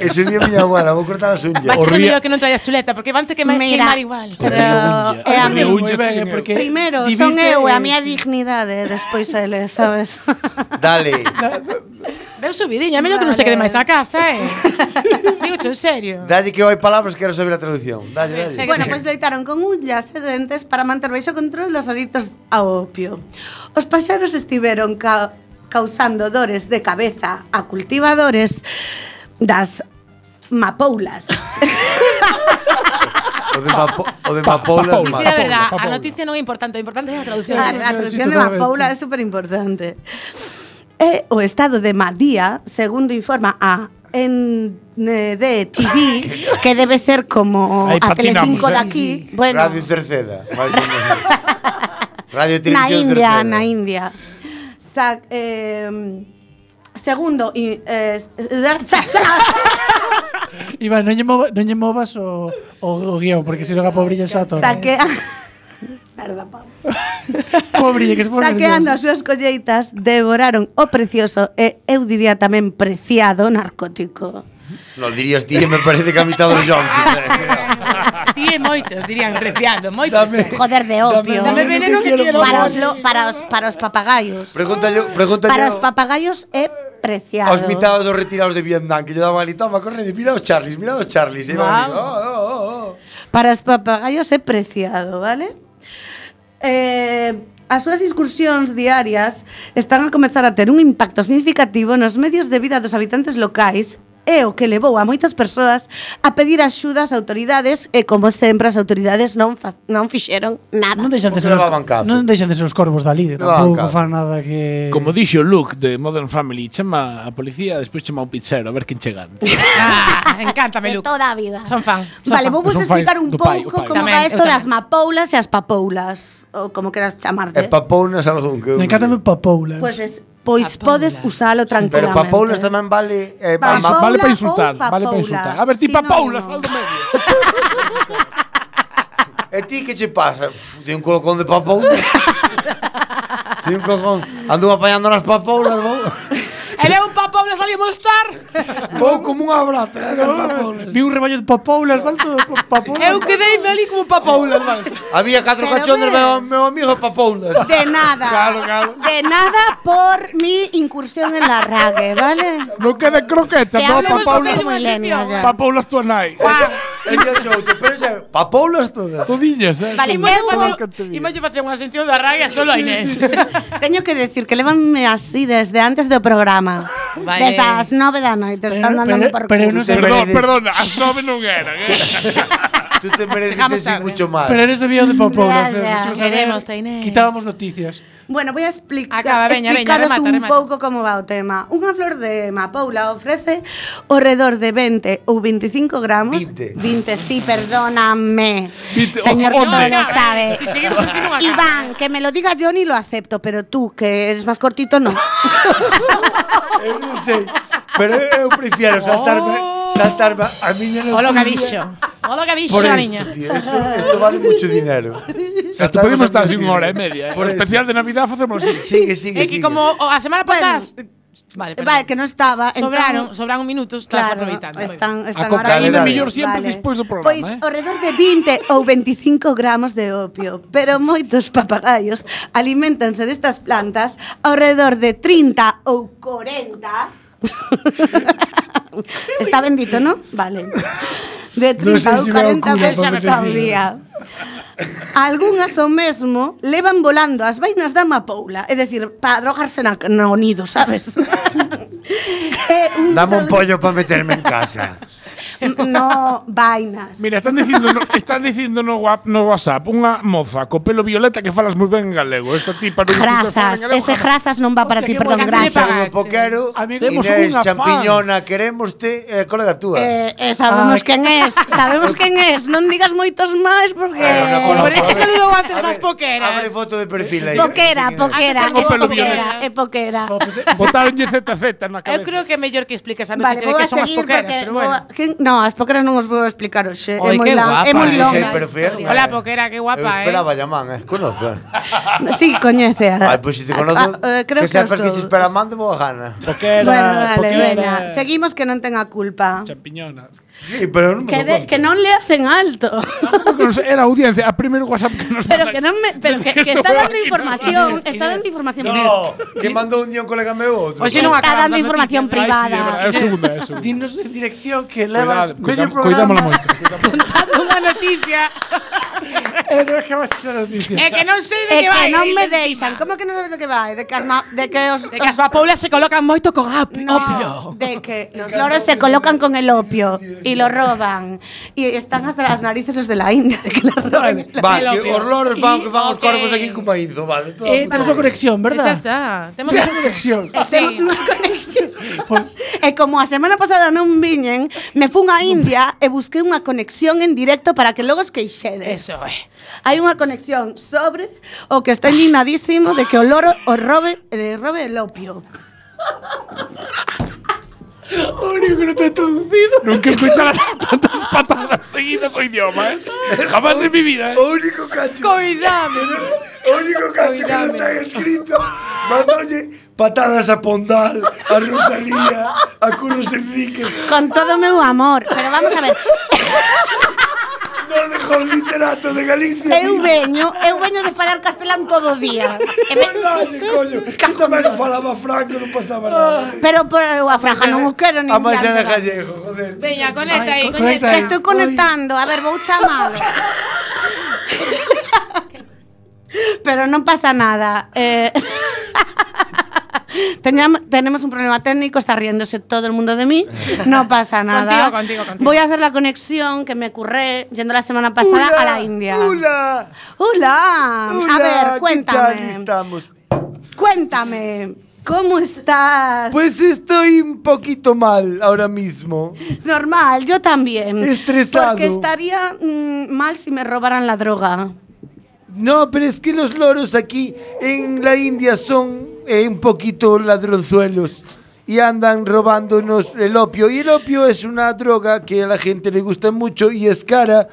B: Ese día miña abuela, vou cortar as unhas.
M: Va a ser mellor
H: Horría-
M: que non traías chuleta, porque van te queimar,
J: Mira,
M: queimar igual.
J: Pero é a
H: Horría
J: min.
H: unllas,
E: Moi ben,
H: tiña-
E: eh, porque
J: Primeiro,
E: divirte,
J: son eu e a
E: eh,
J: miña
E: sí.
J: dignidade, despois ele, sabes?
B: Dale.
M: Veu subidiña, é mellor que non se quede máis na casa, eh. Digo en serio.
B: Dalle que hai palabras, quero saber a traducción. Dalle, dalle.
J: Bueno, pois loitaron con unllas e dentes para manter baixo control os adictos ao opio. Os paxaros estiveron ca causando dores de cabeza a cultivadores das mapoulas.
B: O de, Mapo o de Mapoula
H: pa-
B: es malo.
M: Dicir a verdad,
H: Paula,
M: a
H: Paula.
M: noticia non é importante, o importante é a traducción.
J: A, a traducción de Mapoula é super importante. E Eh, o estado de Madía, segundo informa a NDTV, que debe ser como
H: Aí
J: a
H: patinamos,
J: Telecinco de
H: eh.
J: aquí. Bueno,
B: Radio Cerceda. máis ou menos. Radio
J: na
B: Televisión
J: India,
B: Cerceda.
J: na India. Sa, eh, segundo i- eh,
E: Iván, non lle, mova, non lle movas o, o, o guión, porque se loga pobrilla xa todo.
J: saque
E: Pobrilla, que se pone
J: Saqueando
E: nerviosa.
J: as súas colleitas, devoraron o precioso e eu diría tamén preciado narcótico.
B: No dirías ti que me parece que a mitad dos yonkis.
M: Ti e moitos, dirían, preciado, moitos.
G: Dame.
J: Joder de opio.
G: Dame veneno que quiero
J: para, os
G: morir.
J: lo- para, os, para os papagayos.
B: Pregúntalle, pregúntalle
J: Para os papagayos é preciado.
B: aos mitados dos retirados de Vietnam que lle daban ali, toma, correde, mira os Charlies, mira os Charlies. E iban ali, oh, oh, oh, oh.
J: Para os papagayos é preciado, vale? Eh, as súas excursións diarias están a comezar a ter un impacto significativo nos medios de vida dos habitantes locais e o que levou a moitas persoas a pedir axuda ás autoridades e, como sempre, as autoridades non, fa- non fixeron nada.
E: Non deixan de
B: Porque
E: ser os,
B: levaban cazo.
E: non deixan de ser os corvos da lide,
B: Levaban
E: tampouco
B: cazo.
E: fan nada que
H: Como dixo Luke de Modern Family, chama a policía, despois chama a un pizzero, a ver quen chega antes.
M: Ah, encántame, Luke.
J: De toda a vida.
M: Son fan. Son
J: Vale,
M: fan.
J: vou vos
H: Son fan
J: explicar un
H: do pai,
J: pouco
H: do pai.
J: como
M: Tamén,
J: va
M: eu
J: isto das
M: tamén.
J: mapoulas e as papoulas, ou como queras chamarte.
B: E Eh, papounas algún que... eu-
E: Me encanta papoula.
J: Pois es, pois podes usalo
B: Pero
J: tranquilamente.
B: papounas tamén vale... Eh,
J: Vale.
B: ama-
H: vale
J: Paula
H: para insultar, vale
J: ou
H: para
J: Papaula,
H: insultar. A ver, ti
J: sinónimo.
H: Papaula, fal do medio.
B: E ti que che pasa? Uf, Ti un colocón de papounas. Ti un colocón... Andou apañando nas papounas, vou.
M: E veo un papo, le salí a molestar.
B: Vou como unha brata. eh, nas papoulas.
E: Vi un rebaño de papoulas, van todo pa- papoulas.
M: Eu quedei ali como papoulas, vale.
B: Había catro
J: Pero
B: cachones,
J: ve.
B: meu, meu amigo papounas.
J: De nada. De nada por mi incursión en la rague, vale?
H: Non queda croqueta,
J: Que
H: no,
J: hablemos
H: Papaula.
J: porque como Elenia ya.
H: Papaula es tua nai.
B: E ti achou, te pensa, papoulas todas.
H: Todiñas, eh?
J: Vale,
M: Imos
J: eu vou-
M: facer- imos facer unha sección da raga solo a Inés.
J: teño que decir que levanme así desde antes do programa.
M: Vale.
J: Desde as nove da noite están
E: Pero-
J: dándome
E: pero-
J: por
E: pero non
J: culo.
B: Te
H: Perdón,
B: mereces-
H: perdona, as nove non eran, eh?
B: Tú te mereces
M: Llegamos
B: decir
M: tarde.
B: mucho más.
E: Pero eres vídeo de papoulas.
J: Ya, ya.
M: Queremos, Tainés.
E: Quitábamos noticias.
J: Bueno, voy a explicar
M: Acaba, veña, veña,
J: explicaros
M: remata,
J: un
M: remata.
J: pouco como va o tema. Unha flor de mapoula ofrece ao redor de 20 ou 25 gramos.
B: 20.
J: 20, sí, perdóname.
H: 20,
J: Señor que
H: ¿dónde?
J: todo lo sabe.
M: Si seguimos así, non acaba.
J: Iván, que me lo diga Johnny lo acepto, pero tú, que eres más cortito, no.
B: Eu non sei. Pero eu prefiero saltarme,
M: Oh.
B: saltarme a miña
M: O lo que ha
B: noticia.
M: dicho. O lo que ha dicho,
B: Por
M: la
B: esto,
M: niña.
B: tío, esto, esto vale mucho dinero.
H: Hasta
B: Saltarnos
H: podemos
B: a
H: estar
B: miña
H: así unha
B: noticia.
H: hora e media, eh? Por
B: Por eso.
H: especial de Navidad facemos así.
B: Sigue,
M: É
B: sigue,
M: que
B: sigue.
M: como o- a semana pasada... Vale, perdón.
J: Vale, que non estaba. entón-
M: Sobraron, sobraron minutos, claro,
J: Claro,
M: aproveitando.
J: están,
H: A
J: están
H: cocaína
B: Dale, dale.
H: mellor sempre despois do programa,
J: pois,
H: eh?
J: alrededor de 20 ou 25 gramos de opio, pero moitos papagaios alimentanse destas plantas alrededor de 30 ou 40. Está bendito, non? Vale. De 30
B: Non sei
J: ou
B: se me
J: 40
B: ocurre para
J: veces ao
B: bendecir.
J: día. Algúnas o mesmo levan volando as vainas da mapoula, é dicir, para drogarse na, no nido, sabes? É un
B: Dame un
J: sol-
B: pollo para meterme en casa.
J: no vainas.
H: Mira, están dicindo no, están dicindo no, wa- no WhatsApp unha moza co pelo violeta que falas moi ben en galego. Esta tipa non
J: Grazas, ese grazas non va para ti,
E: Hostia, qué
J: perdón,
M: buena
J: grazas.
M: idea.
B: Saludo Poquero,
H: Amigo, temos
B: Inés
H: unha fan.
B: Champiñona, queremos te, eh, colega túa.
J: Eh, eh, sabemos
E: Ah,
J: quen es, sabemos quen es, non digas moitos máis porque
B: Eh, non a conozco.
M: Por eso
B: A ver,
M: saludo antes
B: abre-
M: as poqueras.
B: Abre foto de perfil aí.
J: Poquera,
M: Ah,
J: poquera,
M: que
J: é
M: son
H: pelo
J: poquera,
M: violeta.
J: é poquera.
H: Botaronlle ZZ na
M: Eu
H: cabeza.
M: creo que é mellor que expliques a
J: Vale,
M: noticia de
J: vou a
M: que son as
J: seguir
M: poqueras,
J: porque
M: pero
J: vou
M: bueno.
J: a- que- No, as poqueras non os vou explicar hoxe, é
M: Oi,
J: moi
M: que
J: longa,
M: guapa,
J: é moi
M: eh.
J: longa.
B: Sí, pero fea.
M: Hola, poquera, que
B: Eu
M: guapa, eh.
B: esperaba llamán, eh. Conozo.
J: Sí, coñece. a-
B: Ay, pois se te
J: a-
B: conozo,
J: a- eh, creo
B: que
J: que,
B: sepas
J: os
B: que te
J: todos.
B: espera man de boa gana.
H: Poquera,
J: Bueno, dale,
H: poquera,
J: venga. Seguimos que non ten a culpa.
H: Champiñona.
B: Sí, pero non me
J: Que, de- que non le hacen alto.
H: Porque nos- era audiencia, a primeiro WhatsApp que nos
J: pero
H: mandan.
J: que non me, pero que, que está dando información, está dando información.
B: No, que mandou un día un colega meu outro.
M: Oxe,
J: Está
M: non acabamos
J: dando
M: as
J: información
M: noticias.
H: Ai, sí, é
J: privada.
H: verdade, é o segundo, é o segundo.
E: Dinos en dirección que levas
H: Cuidado,
E: medio
H: cuidam-
E: programa.
H: Cuidámola moito.
M: Unha noticia Eh,
E: E non acabaste esa noticia.
M: é
E: Eh,
M: que non sei de
J: É
M: que vai.
J: que non me deixan. Como que non sabes do que vai? De que as, ma- de que os,
M: De que as vapoulas se colocan moito con apio.
J: No, de que los loros se colocan con el opio y lo roban. Y están hasta las narices los de la India. de que lo roban.
B: Va,
M: el
B: que
M: opio.
B: os loros fan, que fan os
M: Ok.
B: corvos aquí con maízo, vale. toda
E: Eh,
B: puta
E: temos unha
B: vida.
E: conexión,
M: Esa
E: verdad?
M: está. Eh, Temos
E: Temos unha conexión.
J: Hacemos unha conexión. e como a semana pasada non viñen, me fun á India e busquei unha conexión en directo para que logo os queixedes.
M: Eso, eh.
J: Hai unha conexión sobre o que está indignadísimo de que o loro o robe, eh, robe el opio.
H: Nunca escoitara tantas patadas seguidas o idioma, eh? Jamás en mi vida, eh?
B: O único cacho.
M: Coidame.
B: O único cacho que non está escrito. Mandoulle patadas a Pondal, a Rosalía, a Curos Enríquez.
J: Con todo o meu amor. Pero vamos a ver,
B: Non dejou o literato de Galicia.
J: eu veño, eu veño de falar castelán todo o día. E me,
B: Verdade, coño. Que tamén non falaba franco, non pasaba nada.
J: Pero por eu a franja non o quero nin
B: A máis era
J: diálogo.
B: gallego, joder.
M: Veña, conecta aí,
E: conecta
M: conecta.
E: aí.
J: Que estou conectando, a ver, vou chamalo. Pero non pasa nada. Eh, Teñam, tenemos un problema técnico, está riéndose todo el mundo de mí. No pasa nada.
M: Contigo, contigo, contigo.
J: Voy a hacer la conexión que me curré yendo la semana pasada a la India.
B: Hola.
J: Hola.
B: Hola,
J: A ver,
B: ¿Qué tal
J: cuéntame.
B: estamos?
J: Cuéntame. ¿Cómo estás?
B: Pues estoy un poquito mal ahora mismo.
J: Normal, yo también.
B: Estresado.
J: Porque estaría mm, mal si me robaran la droga.
B: No, pero es que los loros aquí en la India son eh, un poquito ladronzuelos y andan robándonos el opio. Y el opio es una droga que a la gente le gusta mucho y es cara.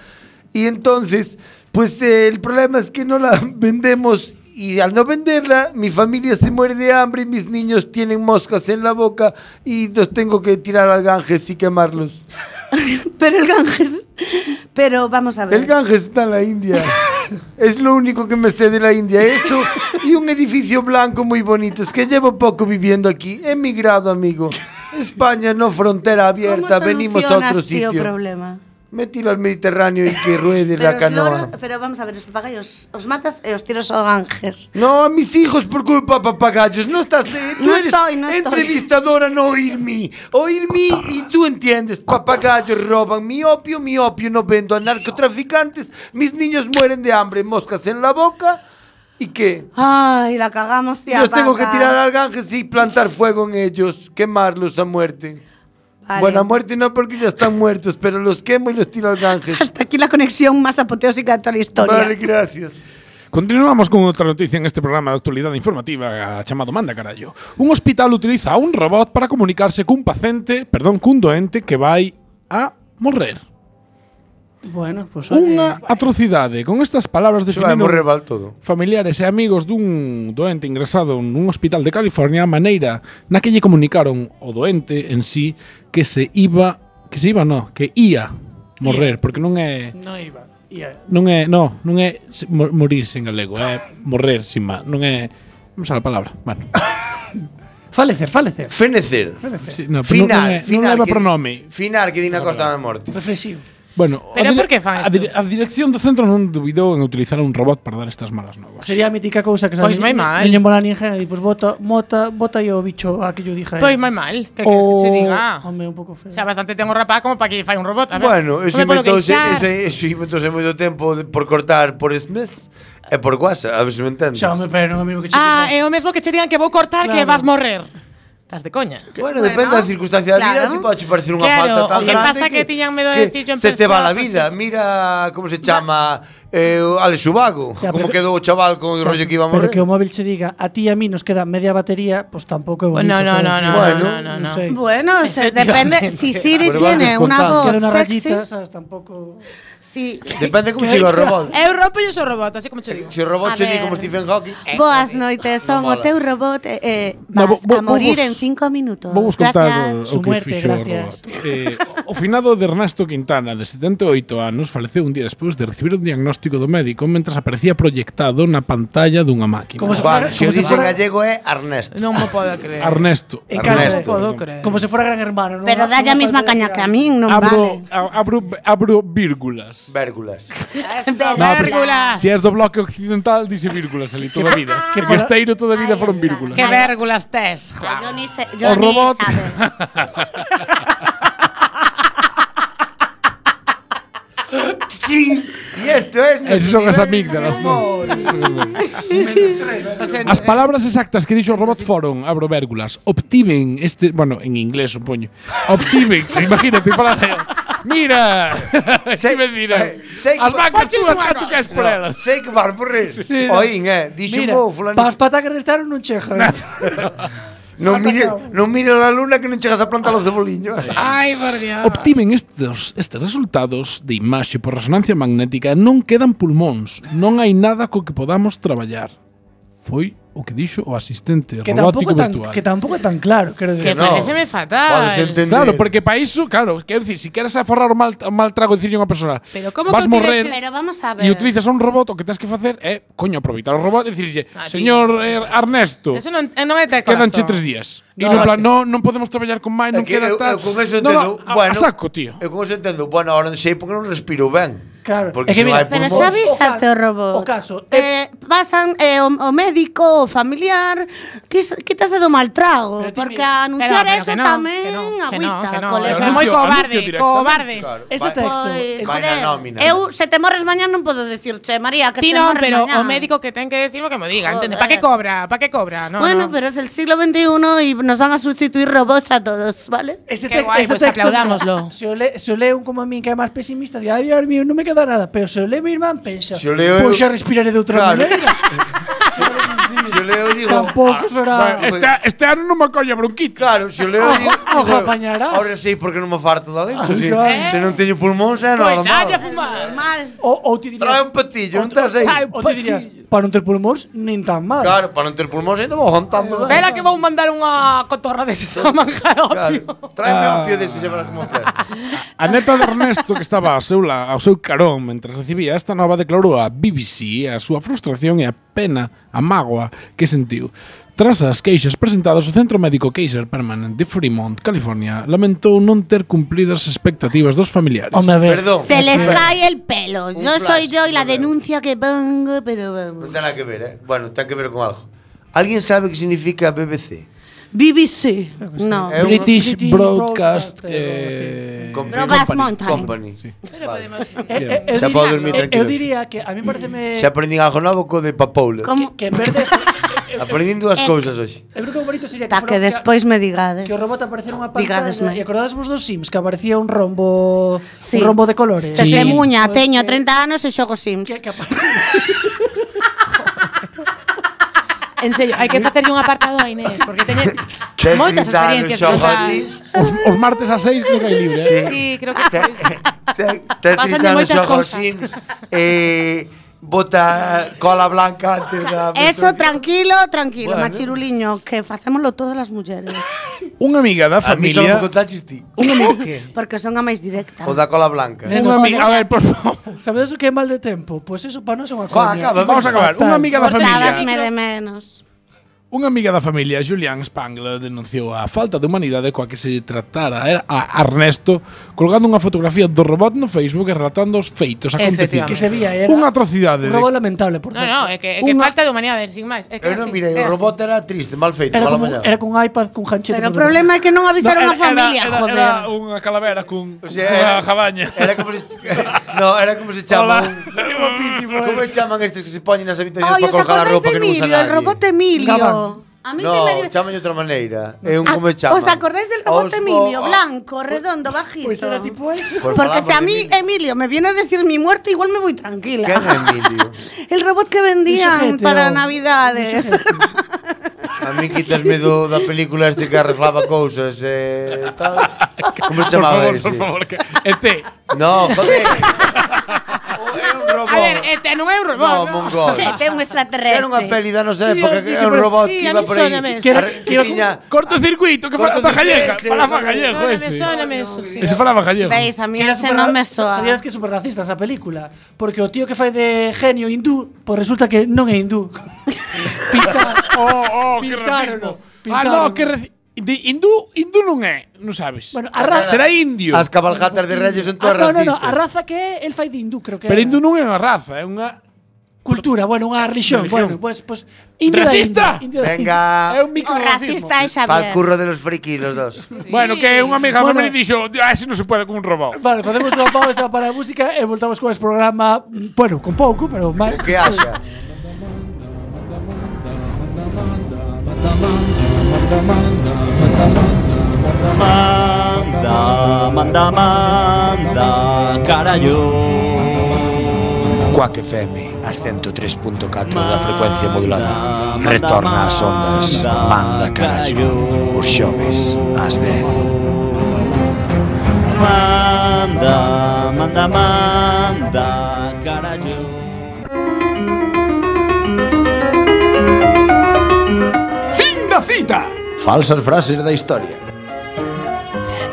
B: Y entonces, pues eh, el problema es que no la vendemos. Y al no venderla, mi familia se muere de hambre y mis niños tienen moscas en la boca y los tengo que tirar al Ganges y quemarlos.
J: Pero el Ganges. Pero vamos a ver.
B: El Ganges está en la India. Es lo único que me sé de la India. Eso y un edificio blanco muy bonito. Es que llevo poco viviendo aquí. He emigrado, amigo. España no frontera abierta.
J: ¿Cómo
B: Venimos a
J: solucionas,
B: otro
J: tío,
B: sitio.
J: problema?
B: Me tiro al Mediterráneo y que ruede la
J: os loro-
B: canoa.
J: pero vamos a ver, os papagayos os matas e os tiros ao Ganges.
B: No, a mis hijos por culpa de papagayos. No estás. eh, tú
J: No
B: eres
J: estoy, no estoy.
B: entrevistadora, no oírme. Oírme y tú entiendes. Papagayos roban mi opio, mi opio no vendo a narcotraficantes. Mis niños mueren de hambre, moscas en la boca. ¿Y qué?
J: Ay, la cagamos, tía.
B: Los tengo que
J: Paca.
B: tirar al Ganges y plantar fuego en ellos, quemarlos a muerte.
J: Vale.
B: Bueno, a muerte no porque ya están muertos, pero los quemo y los tiro al Ganges.
J: Hasta aquí la conexión más apoteósica de toda la historia.
B: Vale, gracias.
H: Continuamos con outra noticia en este programa de actualidade informativa chamado Manda Carallo. Un hospital utiliza un robot para comunicarse cun paciente, perdón, cun doente que vai a morrer.
E: Bueno, pues oye.
H: Unha atrocidade. Con estas palabras
B: Se va a
H: definiron
B: morrer mal todo.
H: familiares e amigos dun doente ingresado nun hospital de California a maneira na que lle comunicaron o doente en sí que se iba que se iba no, que ia morrer, porque non é
E: No iba. eh, Ia.
H: non é, no, non é se- mo- morirse en galego, é morrer sin má, non é non sei a palabra. Bueno,
E: Falecer, falecer.
B: Fenecer.
H: sí, no, pero non- non é-
B: Final,
H: non
B: final.
H: leva
B: que-
H: pronome.
B: Final, que Dina Costa da Morte.
E: Reflexivo.
H: Bueno,
M: Pero
H: a dire-
M: por que fan
H: a, dire-
M: isto?
H: a dirección do centro non dubidou en utilizar un robot para dar estas malas novas.
E: Sería a mítica cousa que
M: Pois moi mal.
E: Niño mola ninja e di, pues bota, mota, bota yo o bicho a que yo dije.
M: Pois moi mal, que queres que che diga? O
E: Hombre, un pouco feo.
M: sea, bastante ten un rapaz como para que fai un robot, a ver.
B: Bueno, eso
M: Non me podo
B: inventouse,
M: queixar.
B: ese, eso inventouse moito tempo de- por cortar por SMS e por WhatsApp, a ver se me entendes.
E: Xa, hombre, pero non é o mismo que che
M: Ah,
E: diga.
M: é o mesmo que che digan que vou cortar que
E: Claro.
M: vas morrer. Estás de coña.
B: Bueno, depende da circunstancia da vida,
J: claro.
B: ti pode parecer unha
M: Claro, o
B: falta tan
M: que
B: grande
M: pasa que tiñan medo de decir yo en
B: se te
M: persona,
B: va la vida.
M: pues es-
B: Mira como se chama eh, Ale Subago,
E: Xa,
B: como
E: pero-
B: quedou o chaval con o rollo que iba a morrer.
E: Pero que o móvil che diga, a ti e a mí nos queda media batería, pues tampouco é
M: Pues
E: bonito.
M: no, no,
E: quero
M: no,
E: decir.
M: no,
B: Bueno,
M: no, no, no.
E: sei.
J: Bueno, se depende. Si Siri
B: Pero vas
J: tiene una
B: descontando.
J: voz
E: Quero unha
J: sexy,
E: rayita, sabes, tampouco...
J: sí.
B: Depende como chega o robot.
M: Eu rompo e sou robot, así como che digo.
B: Se o Eh, robot
J: A
B: che di
J: ver.
B: como Stephen Hawking, eh,
J: Boas noites, son
B: Non mola.
J: o teu robot eh, eh,
H: No, vo-
J: vas
H: vo-
J: a morir
H: vos-
J: en cinco minutos.
H: Vou vos eh, contar o,
J: Gracias.
H: o
E: Su
H: que
E: muerte,
H: fixo
E: gracias.
H: o robot. Eh, o finado de Ernesto Quintana, de 78 anos, faleceu un día despois de recibir un diagnóstico do médico mentras aparecía proyectado na pantalla dunha máquina.
E: Como se
B: vale,
E: fuera-
B: se o
E: como se
B: dicen
E: fuera-
B: gallego é Ernesto.
M: Non me podo creer.
H: Ernesto.
E: En
M: Non
E: Ernesto.
M: me podo creer.
E: Como se fuera gran hermano, non?
J: Pero
E: Non
J: dalle a
E: me
J: mesma
E: falta de-
J: caña que a min, non
H: Abro,
J: vale.
H: a- abro, abro vírgulas.
B: Vérgulas.
H: No, pero-
M: Vérgulas.
H: Si es do bloque occidental, dice vírgulas ali toda a vida. Que
E: para-
H: Besteiro toda a vida
J: Ahí
H: foron
J: está.
H: vírgulas.
M: Que vérgulas tes.
J: A Johnny se-
H: O
J: Johnny
H: robot.
J: sabe.
B: Sí, y esto es
H: Esas son as amígdalas, non?
M: O sea,
H: As palabras exactas que dixo o robot foron, abro vérgulas, obtiven este, bueno, en inglés supoño. Obtiven, imagínate para Mira,
B: Sei-
H: se me dirá.
B: eh, sei que-
H: As vacas
M: Poches
H: túas que
M: humanos.
H: tú queres por elas.
B: Sei que vas morrer.
E: Sí, no.
B: Oín, eh, dixo
E: Mira,
B: vou
E: pa os
B: fulanito.
E: patacas de Zaro non chejas.
B: Non mire,
E: atacado.
B: non mire a luna que non chegas a plantar
H: Ah.
B: Ah, os ceboliños.
M: Ai, por Dios.
H: Obtiven estes, estes resultados de imaxe por resonancia magnética e non quedan pulmóns, non hai nada co que podamos traballar. Foi o que dixo o asistente
E: que
H: robótico
E: tampouco tan,
H: virtual.
E: que tampouco é tan claro, quero
M: Que
E: decir.
B: no.
M: pareceme fatal.
B: Podes entender.
H: Claro, porque para iso, claro, quero dicir, si queres aforrar o mal, o mal trago dicirlle a unha persoa,
M: Pero como
H: vas
M: que
H: morrer
M: utilices-
J: Pero vamos a ver.
H: e utilizas un robot, o que tens que facer é, coño, aproveitar o robot e dicirlle,
M: Ah, ti.
H: señor eh, Ernesto,
M: Eso non, eh, non me te corazón.
H: quedanche tres días. E
E: No,
H: no plan, no, non podemos traballar con máis,
B: É
H: non
B: que
H: queda
B: eu,
H: tal.
B: eu con eso
H: No,
B: entendo,
H: no, a-
B: bueno,
H: a saco, tío.
B: Eu con eso entendo, bueno, ahora non sei porque non respiro ben.
E: Claro.
B: Porque
E: É
B: se
E: que mira,
B: vai
J: Pero
B: pulmón.
J: se avísate
E: O
J: o
E: ca-
J: robot.
E: o caso,
J: Eh, pasan eh, o, o médico, o familiar, quis- quítase do mal trago.
E: Pero ti
J: Porque
E: mira-
J: a anunciar
M: Pero- pero
J: eso
M: que no,
J: tamén
M: que no, que no,
J: agüita.
M: que no,
J: colega.
M: eso é
H: Anuncio-
M: moi cobarde,
H: anuncio directamente.
M: cobardes.
B: Claro.
E: Ese
B: Vai-
E: texto.
J: Pois,
B: Vai
J: joder,
B: na nómina.
J: eu se te morres mañán non podo dicirche, María, que
M: Ti
J: te
M: non,
J: morres
M: pero
J: mañán.
M: o médico que ten que decirme que me diga,
J: Joder.
M: ¿entiendes?
E: eh.
M: ¿Para qué cobra? ¿Para qué cobra? No,
J: bueno, pues,
M: no.
J: pero es el siglo XXI y nos van a sustituir robots a todos, ¿vale?
E: Ese,
M: Qué guai, pues aplaudámoslo.
E: Se o, le, se o lee un como a min que é máis pesimista, di, ai, Dios mío, non me queda nada. Pero se o lee mi irmán, pensa,
B: Se o leo eu-
E: pois xa respiraré de outra
B: Claro.
E: maneira.
B: Se eu leo e digo,
E: Tampouco será...
B: bueno,
H: Este, este ano non me colla bronquita.
B: Claro, se eu leo e digo,
E: Ojo, ojo, apañarás.
B: Ahora sei porque non me farto de alento, si,
E: claro.
B: se non teño pulmón, xa non
M: Pois
B: nada
M: dalle a
B: mal.
M: fumar.
J: Mal.
E: Ou, ou ti dirías...
B: Trae un patillo, non estás aí.
E: Ou ti dirías, para non ter pulmóns, nin tan mal.
B: Claro, para non ter pulmón, ainda vou aguantando. ben.
M: Espera que vou mandar unha cotorra deses a manjar
B: Claro,
M: opio.
B: tráeme
H: Ah.
B: opio dese, xa verás como presta.
H: A neta de Ernesto, que estaba ao seu, la, ao seu carón mentre recibía esta nova, declarou a BBC a súa frustración e a pena, a mágoa que sentiu. Tras as queixas presentadas, o Centro Médico Kaiser Permanent de Fremont, California, lamentou non ter cumplido as expectativas dos familiares.
E: Home, a ver.
B: Perdón,
J: Se les cae el pelo. Yo
B: flash,
J: soy yo y la
B: yo veo.
J: denuncia que pongo, pero
B: non
J: vamos.
B: ten nada que ver, eh. Bueno, ten que ver con algo. Alguén sabe que significa BBC?
J: BBC. No.
B: É un-
H: British
E: British
H: Broadcast
E: Broadcast, eh,
H: eh,
B: Com-
J: Broadcast
H: Company.
J: Mountain.
B: Company.
M: Pero
B: Vale.
M: podemos...
E: Eh, eh, eu
B: Xa
E: diría-
B: podo dormir
E: eh,
B: tranquilo.
E: Eu diría que a mí pareceme...
B: Xa aprendín algo novo co de Papoula.
J: Como-
E: Que en vez de esto,
B: Aprendín dúas cousas hoxe.
E: Eu creo que o bonito sería que,
J: Para que
E: fora-
J: despois me digades.
E: que o robot aparecera unha pantalla.
J: Digades,
E: E
J: mai.
E: acordadesvos dos Sims que aparecía un rombo,
J: Sí.
E: un rombo de colores.
H: Sí.
J: Testemuña,
M: Pues, eh,
J: teño 30 anos e xogo Sims.
E: Que, que apa-
M: En serio, hai que facerlle un apartado a Inés, porque teñe
B: Que
M: moitas
B: gritar no
M: experiencias
B: xogo así.
M: brutais.
H: Os, os martes a 6 creo que hai libre. eh.
M: Sí, creo que pues.
B: Te-
M: pois.
B: te- Te
M: Pásanlle
B: gritan os
M: moitas
B: xogos
M: cousas.
B: Sims. Eh, bota cola blanca antes da...
J: Eso, tranquilo, tranquilo,
B: Bueno.
J: machiruliño, que facémoslo todas as mulleres.
H: Unha amiga da
B: A mí só me
H: familia...
B: contaches ti.
H: Unha amiga...
J: Porque son a máis directa.
B: O da cola blanca.
H: Unha amiga... A ver, por favor.
E: Sabedes o que é mal de tempo? Pois pues eso para nós é unha
B: Joa,
E: coña.
B: acaba,
H: Vamos a acabar. Unha amiga da familia...
J: Cortábasme de menos.
H: Unha amiga da familia, Julian Spangler, denunciou a falta de humanidade coa que se tratara era a Ernesto colgando unha fotografía do robot no Facebook e relatando os feitos acontecidos.
E: Que se vía, era
H: Unha atrocidade. de-
E: un robot lamentable, por
M: No,
E: certo.
M: no, é que, é que
H: Unha-
M: falta de humanidade, sin máis. É que é
B: Eu
M: así,
B: non mirei,
M: é
B: o
M: así.
B: robot era triste, mal feito,
E: Era
B: mala
E: con,
B: mañá.
E: era con un iPad, cun hanchete.
J: Pero o
E: por
J: problema é que non avisaron
H: No,
J: a familia,
H: era,
J: joder.
H: Era unha calavera cun, cun
B: O sea,
H: unha
B: Pues era-
H: jabaña.
B: Era como se, no, era como se
H: Hola.
B: chama. un-
H: Sería guapísimo
B: Como se
H: eso.
B: chaman estes que se poñen nas habitacións
J: Ai,
B: para
J: os
B: colgar a
J: acordáis
B: roupa
J: de
B: que non usa
J: Emilio, el
B: nadie?
J: robot Emilio.
E: Gaban.
J: A mí se me
B: No,
J: dio-
B: chaman de outra maneira. É un como se chama.
J: Ah, ¿Os acordáis del robot
B: Os-
J: Emilio?
B: o-
J: Blanco, redondo, bajito.
E: Pois era tipo eso.
B: Pues
J: Porque si a
B: falamos de
J: mí
B: Emilio.
J: Emilio me viene a decir mi muerte, igual me voy tranquila.
B: Quen é Emilio?
J: El robot que vendían
E: Fíjate,
J: para
E: oh.
J: Navidades.
B: A mí quitasme do, da película este que arreglaba cousas e eh, tal. Como
H: Por
B: se chamaba
H: favor,
B: ese?
H: por favor. Que, este,
B: No, joder. O- é un robot.
M: A ver,
E: eh,
M: este non é un robot.
B: no, mongol.
J: Gente, Este un extraterrestre.
B: Era unha peli da nosa
E: Sí,
B: época que
E: sí, que
B: era un
E: pare-
B: robot
M: sí,
B: que
M: a
B: iba
M: mí
B: por aí.
M: sóname
B: que-
M: eso.
B: ar- que
E: Quiero-
B: tiña-
H: cortocircuito, que falaba
B: Cortocircuito,
H: Gallega.
B: ese,
H: Falaba
B: ese.
H: Gallega,
M: Sóname,
H: ese.
M: sóname eso, sí.
H: Ese falaba Gallega.
J: Veis, a mí
E: Que era
J: ese
E: superra-
J: no me soa.
E: Sabías que é super racista esa película Porque o tío que fai de genio hindú Pois resulta que non é hindú Pinta,
H: Oh, oh, que
E: Pintárono,
H: racismo.
E: pintárono.
H: Ah, no, que raci- de hindú, hindú non é, non sabes.
E: Bueno, a raza-
H: será indio.
B: As cabalgatas de reyes son
E: ah,
B: todas
E: no, no,
B: racistas.
E: no, a raza que é, el fai de hindú, creo que
H: Pero
E: era.
H: hindú non é unha raza, é unha
E: Cultura, bueno, unha religión,
H: Religión.
E: bueno, pues, pues indio da
H: Racista.
E: India, indio da India.
B: Venga,
H: é un
J: O
H: microracismo.
J: racista é
B: pa'l
J: Xavier.
B: curro de los frikis los dos.
H: Bueno, que unha amiga
E: Bueno.
H: bueno. me dixo, ah, ese non se pode con un robot.
E: Vale, facemos unha pausa para a música e voltamos con ese programa, mm, bueno, con pouco, pero máis.
B: Que haxa.
F: Manda, manda, manda, carallo.
B: Cuac FM, a 103.4 da frecuencia modulada.
F: Manda,
B: Retorna ás ondas.
F: manda,
B: Manda carallo. Os xoves, ás 10.
F: Manda, manda, manda, carallo.
B: Falsas frases da historia.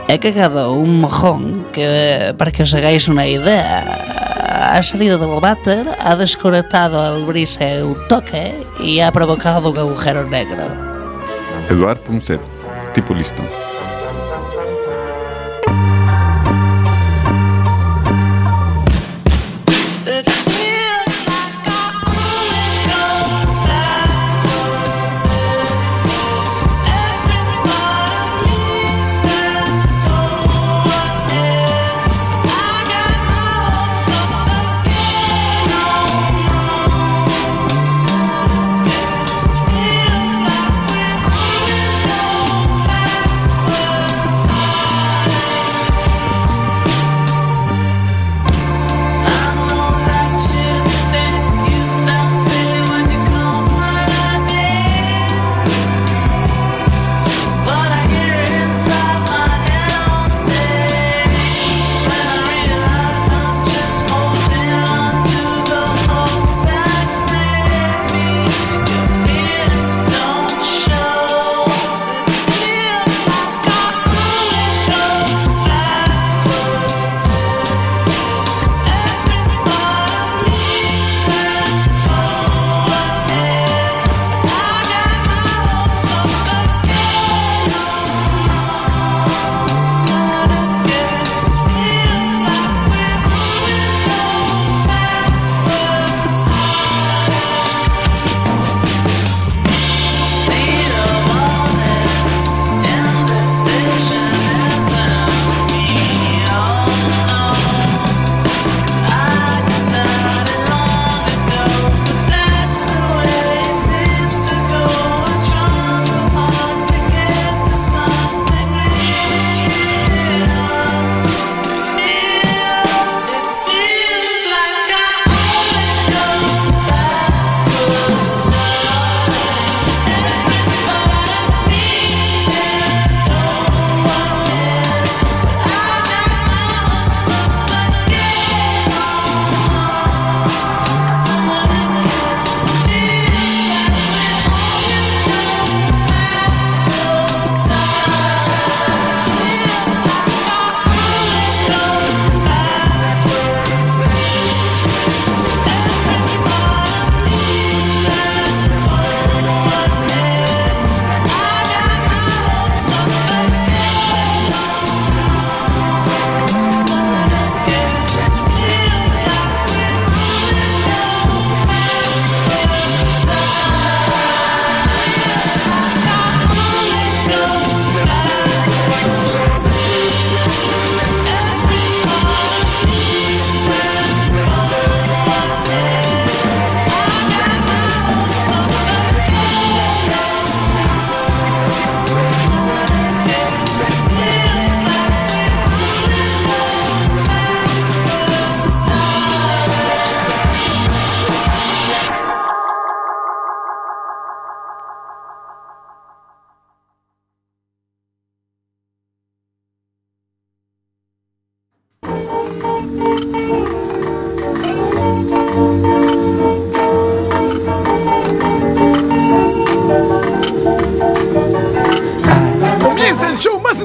I: He cagado un mojón que, para que os hagáis una idea, ha salido del váter, ha desconectado el brise un toque y ha provocado un agujero negro.
D: Eduard Punset, tipo listo.
I: Feels like we're going backwards.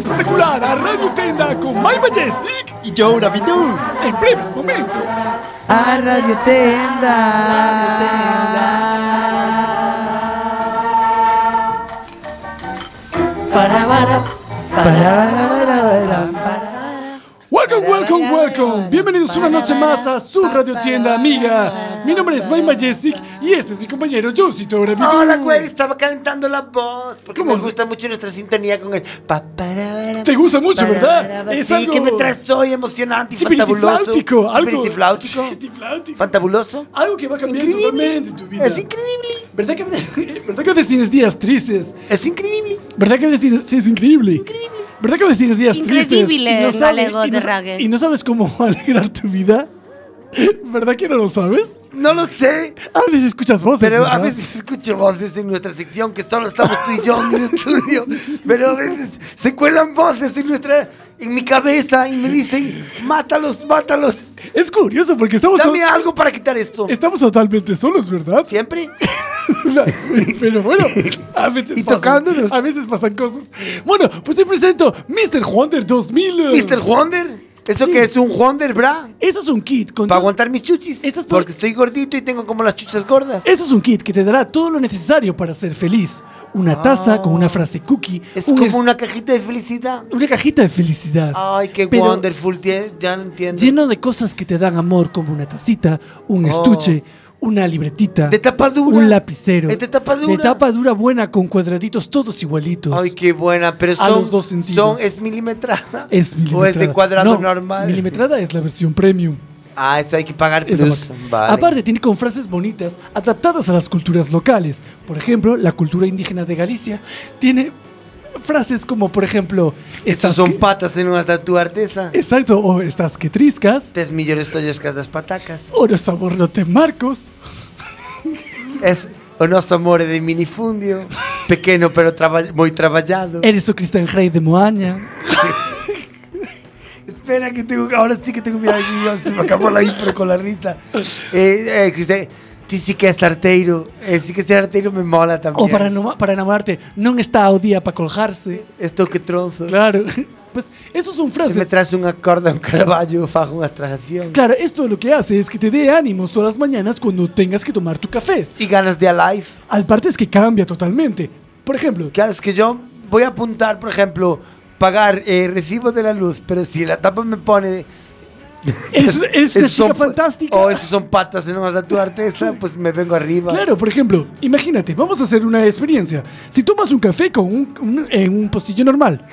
E: para Radio Tenda con My Majestic
N: y Joura Bidou
E: en breves momentos.
O: A Radio Para, para,
E: Welcome, welcome, welcome. Bienvenidos una noche más a su Radio Tienda Amiga. Mi nombre es My Majestic y este es mi compañero Josie Tobre.
B: Hola, güey, estaba calentando la voz. Porque me gusta mucho nuestra sintonía con el. pa, para, para,
E: Te gusta mucho,
B: para,
E: ¿verdad?
B: para, para.
E: Es
B: sí,
E: algo-
B: que me traes hoy emocionante y fantabuloso.
E: Chipitifláutico, algo.
B: Chipitifláutico. Fantabuloso.
E: Algo que va a cambiar totalmente tu vida.
B: Es increíble.
E: ¿Verdad que, a veces- ¿Verdad que a veces tienes días tristes?
B: Es increíble.
E: ¿Verdad que a veces tienes.? Sí, es increíble. ¿Verdad que a veces tienes días tristes?
P: Increíble,
E: y no
P: en
E: sabes-
P: galego
E: y no
P: de
E: sa-
P: Rague.
E: ¿Y no sabes cómo alegrar tu vida? ¿Verdad que no lo sabes?
B: No lo sé.
E: A veces escuchas voces.
B: Pero a
E: ¿verdad?
B: veces escucho voces en nuestra sección que solo estamos tú y yo en el estudio. Pero a veces se cuelan voces en nuestra en mi cabeza y me dicen, mátalos, mátalos.
E: Es curioso porque estamos...
B: Dame algo para quitar esto.
E: Estamos totalmente solos, ¿verdad?
B: Siempre.
E: Pero bueno, a veces y tocándonos. a veces pasan cosas. Bueno, pues te presento Mr. Wonder 2000. eh.
B: Mr. Wonder. ¿Eso
E: Sí.
B: qué es un Wonder, bra?
E: Eso es un kit. Con
B: Para aguantar mis chuchis.
E: Esto es por-
B: porque estoy gordito y tengo como las chuchas gordas.
E: Este es un kit que te dará todo lo necesario para ser feliz. Una taza con una frase cookie.
B: Ah. Es
E: un
B: como
E: es-
B: una cajita de felicidad.
E: una cajita de felicidad.
B: Ay, qué
E: Pero-
B: wonderful. tie- Ya no entiendo.
E: Lleno de cosas que te dan amor, como una tacita, un
B: Oh.
E: estuche, una libretita.
B: De tapa dura.
E: Un lapicero.
B: Es de tapa
E: De
B: dura.
E: tapa dura buena con cuadraditos todos igualitos.
B: Ay, qué buena, pero son,
E: A los dos sentidos.
B: son- es milimetrada.
E: Es milimetrada.
B: O es de cuadrado
E: No,
B: normal.
E: Milimetrada es la versión premium.
B: Ah, eso hay que pagar
E: Esa
B: plus.
E: marca.
B: Vale.
E: Aparte, tiene con frases bonitas adaptadas a las culturas locales. Por ejemplo, la cultura indígena de Galicia tiene frases como, por ejemplo,
B: Estas
E: estas
B: son patas en una estatua artesa.
E: Exacto, o estas que triscas,
B: Tres millones de que das patacas.
E: o no sabor no te marcos.
B: Es o noso amor de minifundio. Pequeno, pero traba- moi traballado.
E: Eres o Cristian Rey de Moaña.
B: Espera que tengo ahora sí que tengo mira aquí se me acabó la impro con la risa. Eh, eh, Cristian, ti sí que es arteiro. Eh, sí que ser arteiro me mola también.
E: O para, no- para enamorarte, non está o día para colgarse.
B: Esto que tronzo.
E: Claro. Pues eso son
B: Se me
E: frases.
B: traes un acorde a un caraballo, fajo una abstracción.
E: Claro, esto lo que hace es que te dé ánimos todas las mañanas cuando tengas que tomar tu café.
B: Y ganas de Alive.
E: Al parte es que cambia totalmente. Por ejemplo,
B: Claro, es que yo voy a apuntar, por ejemplo, pagar eh, recibo de la luz, pero si la tapa me pone.
E: eres, eres una
B: "Esos son
E: chica
B: pa-
E: fantástica.
B: O esos son patas en una tu artesa, pues me vengo arriba.
E: Claro, por ejemplo, imagínate, vamos a hacer una experiencia. Si tomas un café con un, un- en un pocillo normal,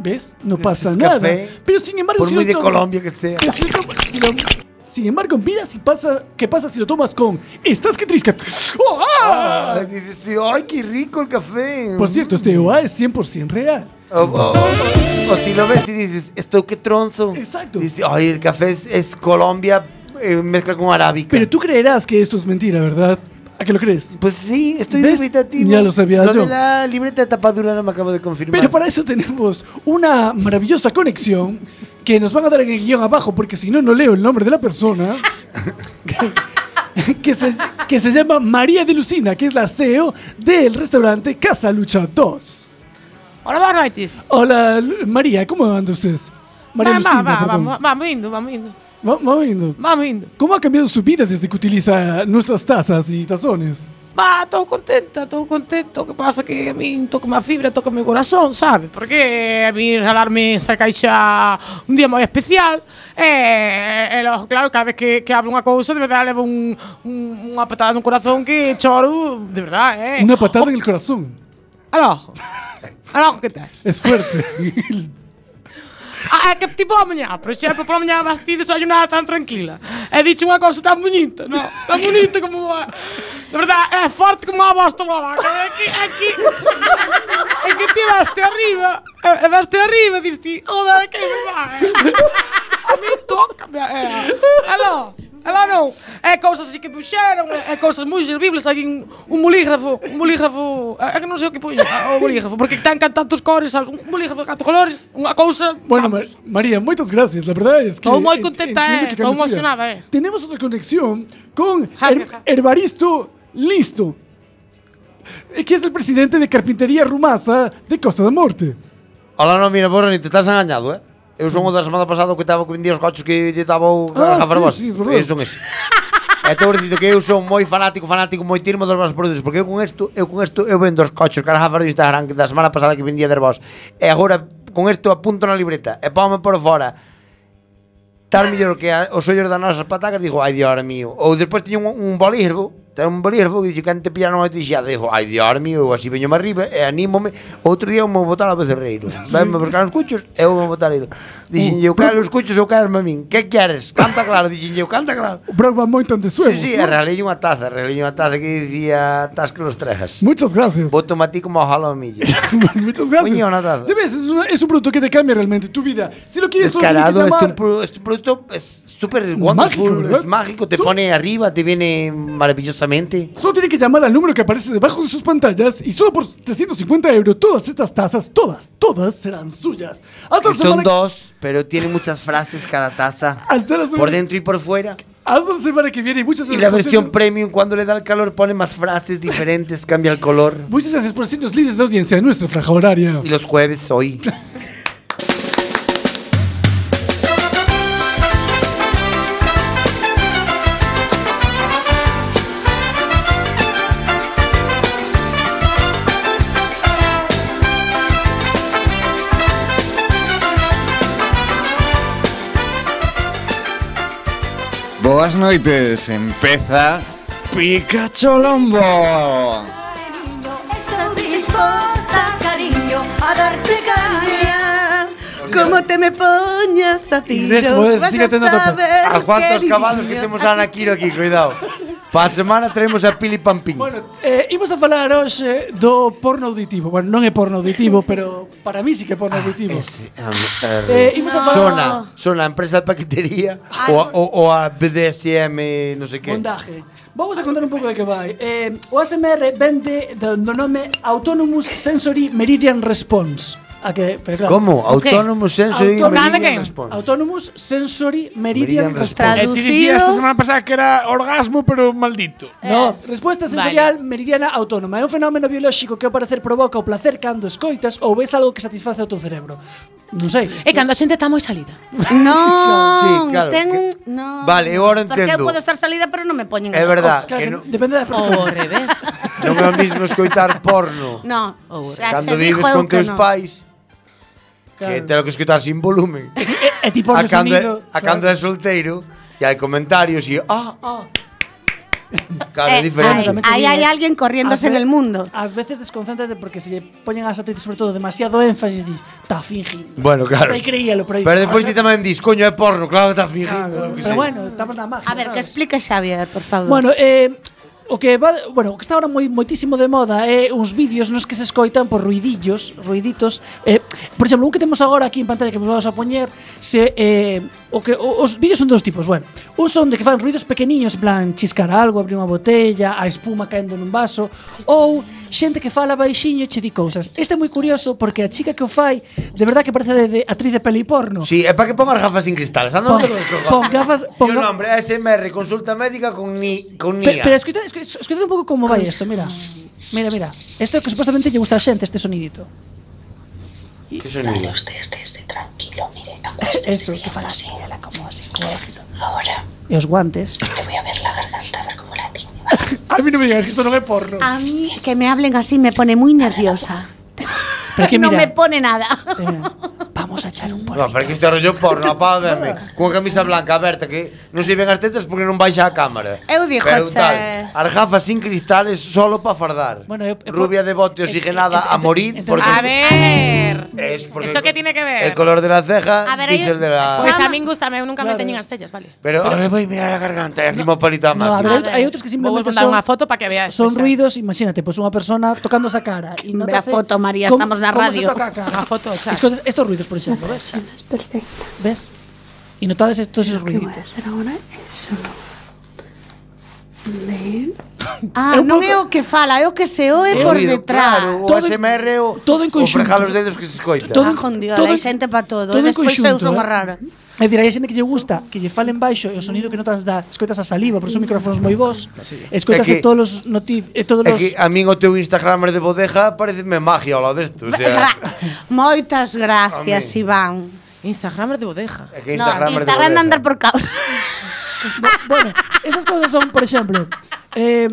E: ¿ves? No pasa
B: es
E: nada.
B: café.
E: Pero sin embargo,
B: Por
E: si
B: muy
E: lo
B: de
E: tomas-
B: Colombia que sea.
E: Pero si lo tomas- si lo- sin embargo, mira si pasa, qué pasa si lo tomas con estás que trisca. ¡Oh, ah!
B: Ay, dices, sí, ay, qué rico el café.
E: Por cierto, este OA es 100% real.
B: O, o- o- o si lo ves y dices, esto qué tronzo.
E: Exacto.
B: Dices, ay, el café es, es Colombia eh, mezcla con arábica.
E: Pero tú creerás que esto es mentira, ¿verdad? ¿A qué lo crees?
B: pues sí, estoy
E: ¿Ves?
B: dubitativo.
E: Ya lo sabía
B: Lo
E: yo.
B: de la libreta de tapadura no me acabo de confirmar.
E: Pero para eso tenemos una maravillosa conexión que nos van a dar en el guión abajo, porque si no, no leo el nombre de la persona. que, se, que se llama María de Lucina, que es la CEO del restaurante Casa Lucha 2.
J: Hola, boas noites.
E: Hola, Lu- María, ¿cómo anda usted? María
J: Va, va,
E: Lucina,
J: va,
E: perdón.
J: vamos, vamos indo, vamos indo.
E: Va- vamos viendo.
J: Vamos indo.
E: ¿Cómo ha cambiado su vida desde que utiliza nuestras tazas y tazones?
J: Va, estou contenta, estou contenta. O que pasa que a min toca a fibra, toca meu corazón, sabe? Porque a min regalarme esa caixa un día moi especial. E, e logo, claro, cada vez que, que abro unha cousa, de verdade, levo un, un, unha patada no corazón que choro, de verdade, eh?
E: Una patada en el corazón.
J: Alojo. Alojo, que tal?
E: Es fuerte.
J: Ah, é que tipo a mañá, por exemplo, pola mañá vas ti desayunar tan tranquila. E dicho unha cousa tan bonita, non? Tan bonita como... a- De verdade, é forte como a voz tomada. vaca. É que, é que... É que ti vas te arriba, e e vas te arriba, e dis ti, joder, que me va, eh? A mí toca, é... Aló, aló non. É cousas así que puxeron, é é cousas moi servibles, hai un, un bolígrafo, un bolígrafo... É é que non sei o que puño, ah, o bolígrafo, porque tan can tantos cores, sabes? Un bolígrafo Um de catro colores, unha cousa...
E: Bueno, Ma- María, muchas gracias. La verdad es que.
J: Estou moi
E: en-
J: contenta,
E: entiendo
J: eh.
E: que cambias tu
J: Estou
E: vida.
J: emocionada, eh.
E: Tenemos otra conexión con
J: Ja,
E: Her-
J: ja, ja.
E: Herbaristo Listo, eh, que es el presidente de Carpintería Rumasa de Costa de Morte.
B: Ola, non, mira, porra, ni te estás engañado, eh? Eu son o da semana pasada que estaba que vendía os coches que lle estaba o
G: Ah,
B: Garrafa
G: sí,
B: Barbosa.
G: sí, es verdad.
B: Eu son ese. E estou dicindo que eu son moi fanático, fanático, moi tirmo dos meus produtos, porque eu con isto, eu con isto, eu vendo os coches Garrafa do Instagram que da semana pasada que vendía Derbos. E agora con isto apunto na libreta e póngame por fora. Tal mellor que a- os ollos das nosas patacas, digo, ai, dios mío. Ou despois teño un, un bolígrafo, ten un bolígrafo que dixo que antes pillaron a tixada, digo, ai, dios mío, eu así veño má arriba e anímome. Outro día eu me botar a becerreiro. Vai me buscar os cuchos, e eu me botar ele. Dixen, eu quero os cuchos ou quero a min. Que queres? Canta claro, dixen, eu canta claro.
G: O programa moito ante
B: Sí,
G: suevos.
B: sí,
G: ¿no?
B: arreglei unha taza, arreglei unha taza que dicía tas que los trejas.
G: Muchas gracias.
B: Boto a ti como jalo ao millo.
G: Muchas gracias.
B: Coño, una taza.
G: Ya ves, es, una- es un producto que te cambia realmente tu vida. Si lo quieres, solo tienes que
B: Descarado, este, un
G: llamar.
B: pro- este producto es súper
G: Mágico,
B: wonderful,
G: ¿verdad?
B: es mágico, te pone arriba, te viene maravillosamente.
G: Solo tiene que llamar al número que aparece debajo de sus pantallas y solo por 350 euros todas estas tazas, todas, todas serán suyas. Hasta la
B: Son
G: semana,
B: dos, pero tiene muchas frases cada taza.
G: Hasta la
B: Por
G: semana-
B: dentro y por fuera.
G: hasta la semana que viene y muchas
B: Y
G: gracias.
B: la
G: por
B: versión
G: sernos-
B: premium, cuando le da el calor, pone más frases diferentes, cambia el color.
G: Muchas gracias por ser los líderes de audiencia de nuestra franja horaria.
B: Y los jueves hoy.
Q: Boas noites, empeza Pikachu Lombo.
R: Estou disposta, cariño, a darte caña.
J: Como te me poñas a ti.
B: Inés,
J: vas a saber
B: A cuántos
J: que
B: caballos que
J: niño-
B: tenemos a Nakiro aquí, cuidado. Para semana tenemos a Pili Pampín.
E: Eh, imos a falar hoxe do porno auditivo. Bueno, non é porno auditivo, pero para mí sí que é
G: Ah,
E: porno auditivo. Eh, imos a falar-
B: Sona, sona, empresa de paquetería o, a- o- o a BDSM, no sé qué.
E: Bondaje. Vamos a contar un pouco de que vai. Eh, o ASMR vende do, do nome Autonomous Sensory Meridian Response. A que, pero claro.
B: Como?
E: O que?
B: Autonomous Sensory
E: Auto-
B: Meridian Nada que- Response.
E: Autonomous Sensory
B: Meridian
E: Meridian,
H: E
B: Response.
E: Response.
B: Traducido-
H: Decía esta semana pasada que era orgasmo, pero maldito.
J: Eh,
E: No, resposta sensorial meridiana autónoma É un fenómeno biolóxico que ao parecer provoca o placer cando escoitas ou ves algo que satisface o teu cerebro Non sei
M: E cando a xente está moi salida
J: No,
B: Sí, claro,
J: ten
B: que-
J: un- no.
B: Vale, eu ahora
J: Porque
B: entendo.
J: eu podo estar salida, pero non me poñen
B: É
J: esas
B: verdad, Ah,
J: cousas.
B: que Claro, no-
E: Depende da
J: persoa. Ao revés.
B: Non é o mismo escoitar porno.
J: No. xa
B: Cando
J: che
B: vives
J: dixo eu
B: con
J: que
B: teus
J: non.
B: pais, que te lo que escoitar sin volumen.
E: É E, tipo
B: a
E: no
B: cando, é-
E: sonido,
B: a cando é solteiro, e hai comentarios e ah, ah. Claro, é
J: Eh,
B: diferente.
J: ai, Ahí hay alguien corriéndose
E: Ah,
J: en el mundo.
E: Ás veces desconcéntrate porque se lle poñen ás actrices sobre todo demasiado énfasis dis, está fingindo.
B: Bueno, claro.
E: Aí creíalo, pero aí-
B: Pero despois ti tamén dis, coño, é porno, claro, está fingindo.
E: Pero bueno, estamos na magia.
J: A ver, que explique Xavier, por favor.
E: Bueno, eh, o que va, bueno, o que está ahora moi moitísimo de moda é uns vídeos nos que se escoitan por ruidillos, ruiditos. Eh, por exemplo, un que temos agora aquí en pantalla que vos vamos a poñer, se eh, o que o, os vídeos son dos tipos, bueno. Un son de que fan ruidos pequeniños, en plan chiscar algo, abrir unha botella, a espuma caendo nun vaso, ou xente que fala baixiño e che di cousas. Este é moi curioso porque a chica que o fai, de verdad que parece de, de actriz de peli porno.
B: Sí, é para que pongas gafas sin cristales. Anda
E: Pon-
B: todo esto,
E: pon gafas- pon
B: Yo
E: ga-
B: nombre, ASMR, consulta médica con ni con
E: Pe-
B: Nia.
E: pero escoita, esco- escoita un pouco como vai isto, mira. Mira, mira. Isto é que supostamente lle gusta a xente este sonidito.
B: Que sonido?
R: este, Tranquilo, mire,
E: Eso, que fala así, ela como así, como bajito. Ahora. E os guantes.
R: te voy a ver la garganta, a ver cómo la tengo.
E: A mí non me digas que isto non é porno.
J: A mí que me hablen así me pone muy nerviosa.
R: Ah,
E: Pero que
J: no
E: mira, eh,
J: me pone nada.
E: Vamos a echar un
B: No, pero que este rollo porno, para verme. Con camisa blanca aberta, que non se ven as tetas porque non baixa a cámara.
J: Eu dixo,
B: Pero tal,
J: che.
B: as gafas sin cristales solo para fardar. Bueno, Rubia de bote
E: e-
B: oxigenada a morir porque
M: A ver
B: es porque
M: Eso que tiene que ver
B: el color de la ceja
M: A ver,
B: dice
M: hay-
B: el de la...
M: Pues a min gusta, eu nunca me
E: Claro.
M: teñen as tellas, vale
B: Pero ahora voy a mirar la garganta, es como palita
E: No,
B: más.
E: a ver, hai- hai outros que simplemente
M: Vou mandar
E: son
M: unha foto para que veas
E: Son ruidos, imagínate, pois pues unha persona tocando esa cara e
J: Ve
E: notase
J: a foto, María,
E: como-
J: estamos na
E: como se
J: radio.
E: toca a cara.
M: A foto, xa.
E: Escoitas estos ruidos, por exemplo, ves?
R: perfecta.
E: Ves? E notades estos esos
R: Lo que voy a
E: ruiditos.
R: hacer ahora es solo ver
J: Ah, non é o que fala, é o que se oe
B: O
J: por
B: ruido,
J: detrás.
B: Claro, o ASMR é o,
E: todo en
B: o fregar
E: conxunto.
B: os dedos que se escoita.
J: Todo, todo, hai xente para todo, todo
E: todo en
J: e despois eu
E: conxunto,
J: son
E: eh.
J: a rara.
E: É dicir, hai xente que lle gusta que lle falen baixo e o sonido que notas da escoitas a saliva, por eso micrófonos moi bons. Escoitas
B: Ah, É que-
E: todos os notif, e todos
B: É
E: os
B: que a min o teu Instagram de bodeja pareceme magia ao lado desto, o sea,
J: Moitas gracias,
B: Amén.
J: Iván.
M: Instagram de bodeja.
B: é que Instagram
J: no,
B: é de
J: Instagram de
B: bodeja.
J: andar por caos.
E: bueno, esas cosas son, por exemplo, eh,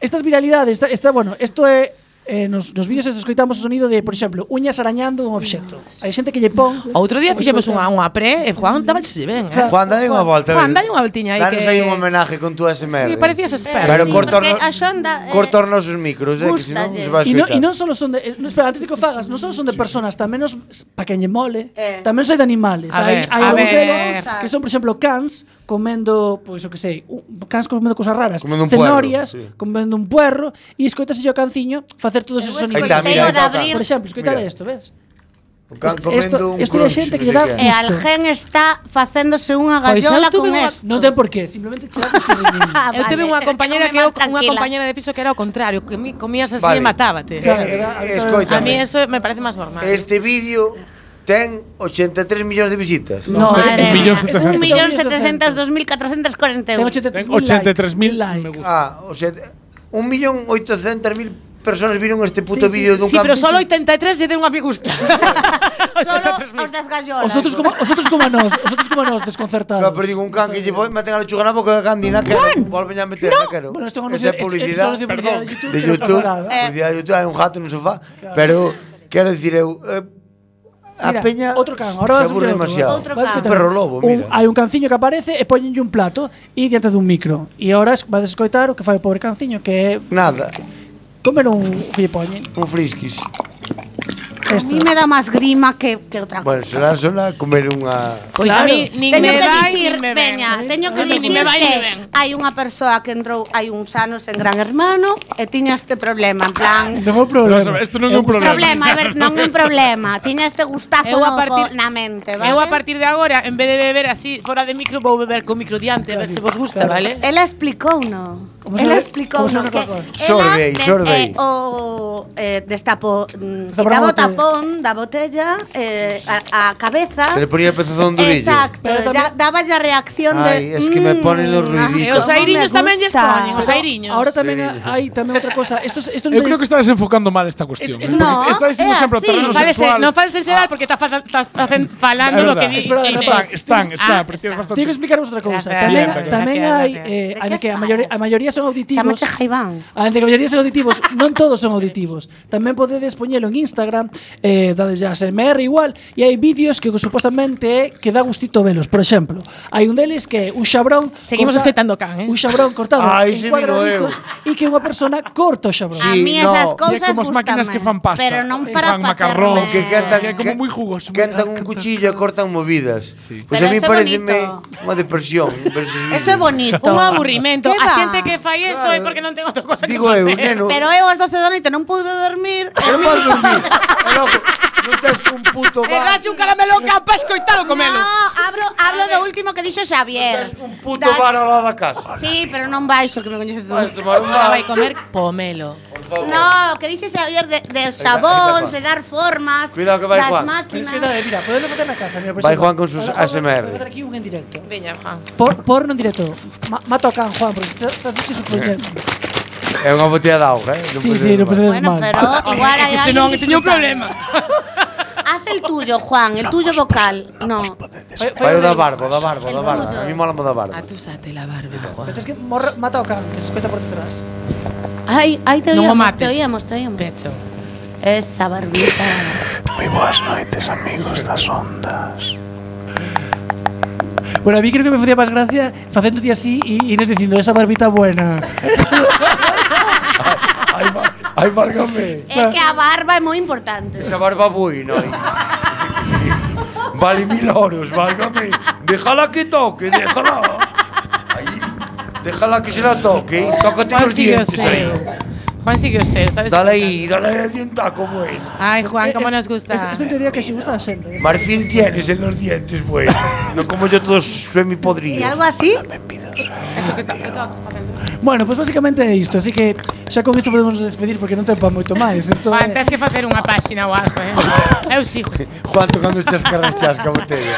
E: estas viralidades, esta, esta, bueno, isto é eh, nos, nos vídeos estos escoitamos o sonido de, por exemplo, uñas arañando un obxecto. Hai xente que lle pon
M: Outro día fixemos
E: Escoita.
M: unha, unha pre e Juan daba che ben, eh?
B: Juan, dai unha volta.
M: Juan, dai unha voltiña aí
B: Danos
M: que...
B: aí un homenaje con tu ASMR.
M: Sí, parecías experto.
B: Pero
M: Sí,
B: corta os no-
J: porque a Xonda, eh,
B: corta os nosos micros, eh, que si non
J: gustalle.
B: se va a
E: E, no,
B: escoitar.
E: e non solo son de, eh, no, espera, antes de que o fagas, non solo son de personas, tamén os pa que lle mole, eh. tamén son de animales.
M: A
E: Hai
M: ver,
E: hai
M: a ver.
E: algúns deles que son, por exemplo, cans pues, comendo, pois o que sei, un- cans comendo cousas raras,
B: Comendo un puerro,
E: cenorias,
B: sí.
E: comendo un puerro e escoitase o canciño facer todos esos
B: escoitei
E: sonidos.
B: Aí está, mira, o de aí está, abrir.
E: Por exemplo, escoitade
B: Mira.
E: isto, ves?
B: O can
E: Esto-
B: comendo
E: esto-
B: un
E: esto de
B: crunch,
E: xente
B: non
E: que
B: sei
E: dá-
B: que
M: Eh,
J: E
B: é.
J: Algen está facéndose unha gallola con esto.
E: Non ten por qué, simplemente che dá gusto de mí.
M: Eu
J: Vale,
M: teve unha compañera que eu-
J: máis
M: unha
J: tranquila.
M: compañera de piso que era o contrario, que mi- comías así e
B: Vale.
M: matábate.
B: Eh, eh,
M: a mí
B: escoítame.
M: eso me parece máis normal.
B: Este vídeo ten 83 millóns de visitas.
E: No, es
J: Madre
E: millón
J: mía. Es
E: setecientos.
J: un millón setecientos dos mil catrocentos cuarenta
E: Ten
J: euros.
E: 83.000 likes.
B: Ah, o sea, un millón 800.000 personas viron este puto vídeo dun
M: Sí, pero
B: camping.
M: solo 83 lle deu unha me gusta.
J: Solo os das gallolas.
E: Os outros como, os outros como a nós, os outros como a nós desconcertados.
B: Claro, pero digo, un can que lle pon- meten a la chugana porque é candina que volven a meter no. quero.
E: Bueno, esto es un
B: Esa
E: anuncio-
B: é
E: esto-
B: publicidade,
E: esto es un anuncio de
B: perdón,
E: publicidade
B: de
E: de YouTube que
B: YouTube,
E: non pasa nada.
J: Eh.
B: publicidade de YouTube, hai un gato no sofá, pero quero dicir eu eh, a
E: Mira,
B: peña
E: outro can, ahora vas a ¿eh?
B: se aburre
E: ver outro,
B: demasiado.
E: outro Vas can.
B: Un perro lobo,
E: un,
B: mira.
E: hai un canciño que aparece e poñenlle un plato e diante dun micro. E ahora es- vades escoitar o que fai o pobre canciño que é
B: Nada,
E: comer un o que lle poñen.
B: un friskis.
J: A mí me da máis grima que, que outra
B: Bueno, será sona comer unha
M: Pois a mí nin
J: teño
M: me
J: que
M: vai,
J: dicir,
M: nin me ven.
J: veña, teño que
M: A mí
J: dicir
M: nin me vai, nin me
J: que
M: ven.
J: hai unha persoa que entrou hai uns anos en Gran Hermano e tiña este problema, en plan,
E: Non é un problema. Eh,
H: Vamos a ver, Esto non é un problema.
J: problema, a ver, non é un problema, tiña este gustazo
M: Eu a
J: no
M: partir-
J: co- na mente, vale?
M: Eu a partir de agora, en vez de beber así fora de micro, vou beber co micro diante, a ver se vos gusta, vale?
J: Ela explicou no.
E: Como se
J: Ela
E: ve-
J: explicou
E: como se
J: no
E: ve
J: que
E: Coca-Cola.
B: Sorbei,
J: ela
B: sorbei.
J: eh, o eh, destapo mm,
E: Destapar a
J: quitaba o
E: botella.
J: tapón da botella eh, a, a cabeza.
B: Se le ponía el pezón durillo.
J: Ah. Exacto,
E: Pero tamén-
J: ya daba ya reacción
B: Ay,
J: de
B: es que me
J: mm,
B: ponen los
J: ah,
B: ruiditos.
M: E os
J: como me
M: airiños tamén lles
J: gusta.
M: poñen, os airiños.
E: Ahora tamén hai tamén outra cosa. Esto es- esto non
H: Yo creo que
E: tenéis-
H: está desenfocando mal esta cuestión. ¿eh?
E: Esto-
J: no,
H: Porque está diciendo
J: es
H: siempre
J: así.
H: terreno
M: non fales,
H: sexual.
M: non fales en xeral porque está fa- está- está fen- falando
H: É
M: lo que di.
H: verdad.
E: Espera,
M: que
E: rapaz,
M: dices.
H: están, están,
M: Ah,
H: pero
M: está.
H: tienes bastante-
E: Teño que explicaros outra cousa.
M: Gracias,
E: Tamén,
H: gracias,
E: tamén
M: gracias.
E: hai eh,
J: De
E: a de
J: que
E: que a maioría, a maioría son
J: Chama
E: auditivos.
J: Jaiván.
E: A de que a maioría son auditivos non todos son auditivos. Tamén podedes poñelo en Instagram, eh, dades ya SMR igual, e hai vídeos que supostamente é que dá gustito velos. Por exemplo, hai un deles que é un xabrón...
M: Seguimos escoitando can, eh?
E: Un xabrón cortado
B: Ai,
E: en
B: sí, miro
E: cuadraditos e que unha persona corta o xabrón.
B: Sí,
J: A mí
B: no.
H: Y
B: Y hay
J: esas
H: hay
J: cousas
H: como as máquinas que fan pasta.
J: Pero non
H: que
J: para
H: fan macarrón.
J: facerme.
B: Que cantan,
H: Que é como moi jugoso.
B: Cantan un cuchillo e cortan movidas. Sí. Pois a
J: Pero
B: mí
J: eso é
B: pareceme
J: bonito.
B: unha depresión. ver esos
J: Eso é
B: vídeos.
J: bonito.
M: Un aburrimento.
J: Que
M: A
J: va?
M: xente que fai isto é porque non ten outra cosa que
B: Digo eu,
M: facer.
B: neno.
J: Pero eu ás 12 da noite non pude dormir.
B: Que non podes dormir. E logo, non tes un puto
M: E
B: bar.
M: dase un caramelo can para escoitalo comelo.
J: No, abro, hablo do último que dixo Xavier.
B: Tes un puto bar ao lado da casa.
J: Sí, pero non baixo, que me coñece todo.
B: Podes tomar un
M: Agora
B: bar.
M: vai comer pomelo.
J: No, que dixe Xavier de, de os sabóns, de dar formas,
B: Cuidado que vai
J: das
B: Juan.
E: Tedes
J: máquinas.
E: que dar- mira, podelo facer na casa. Mira, por
B: Vai
E: exemplo,
B: Juan con sus
E: ahora- ahora
B: ASMR.
E: Voy a facer aquí un en directo.
M: Veña, Juan.
E: Por, porno en directo. Ma- mata o can, Juan, porque estás estás supoñendo.
B: É unha botella de auga, eh? Non
E: Sí,
B: podes
E: sí, non
B: tomar.
E: percebedes
J: Bueno,
E: mal.
J: pero igual hai
M: Se
J: alguén
M: non, que teño un
J: disfrutando.
M: problema.
J: Haz el tuyo, Juan, el tuyo vocal. No.
E: Fai- fai
B: Vai o
E: un
B: da
E: des-
B: barba, o da barba, o da barba.
J: tuyo.
B: A mí mola mo da barba.
M: Atúsate la barba, Juan.
E: Pero es que morra, mata o can, que se escoita por detrás.
J: Ay, ay, te
M: Non o
J: oíamos,
M: mates.
J: te oíamos, te oíamos.
M: Pecho.
J: Esa barbita.
E: Bueno, a mí creo que me facía más gracia facéndote así y Inés diciendo esa barbita buena.
B: Ai, va- ai, válgame.
J: É que a barba é moi importante.
B: Esa barba bui, non?
M: ¿eh?
B: Vale mil oros, válgame. Déjala que toque, déjala. Aí, déjala que se la toque. Tócate
M: Juan
B: los
M: sí que o
B: dientes aí.
M: sei. Juan sí que o sei. está
B: Dale ahí, dale ahí el dientaco, bueno.
M: Ay,
E: Eh,
M: Juan, cómo nos gusta.
E: Esto, esto en teoría que se gusta a Sendo.
B: Marfil tienes en los dientes, bueno. no como yo todos semi
J: E
B: podridos.
J: algo así?
M: Eso que está- que está facendo.
E: Bueno, pues basicamente é isto, así que xa con isto podemos nos despedir porque non ten pa moito máis. Isto
M: Ah,
E: é...
M: tens que facer unha páxina ou algo, eh? Eu sigo.
B: Juan tocando chascarras chasca botella.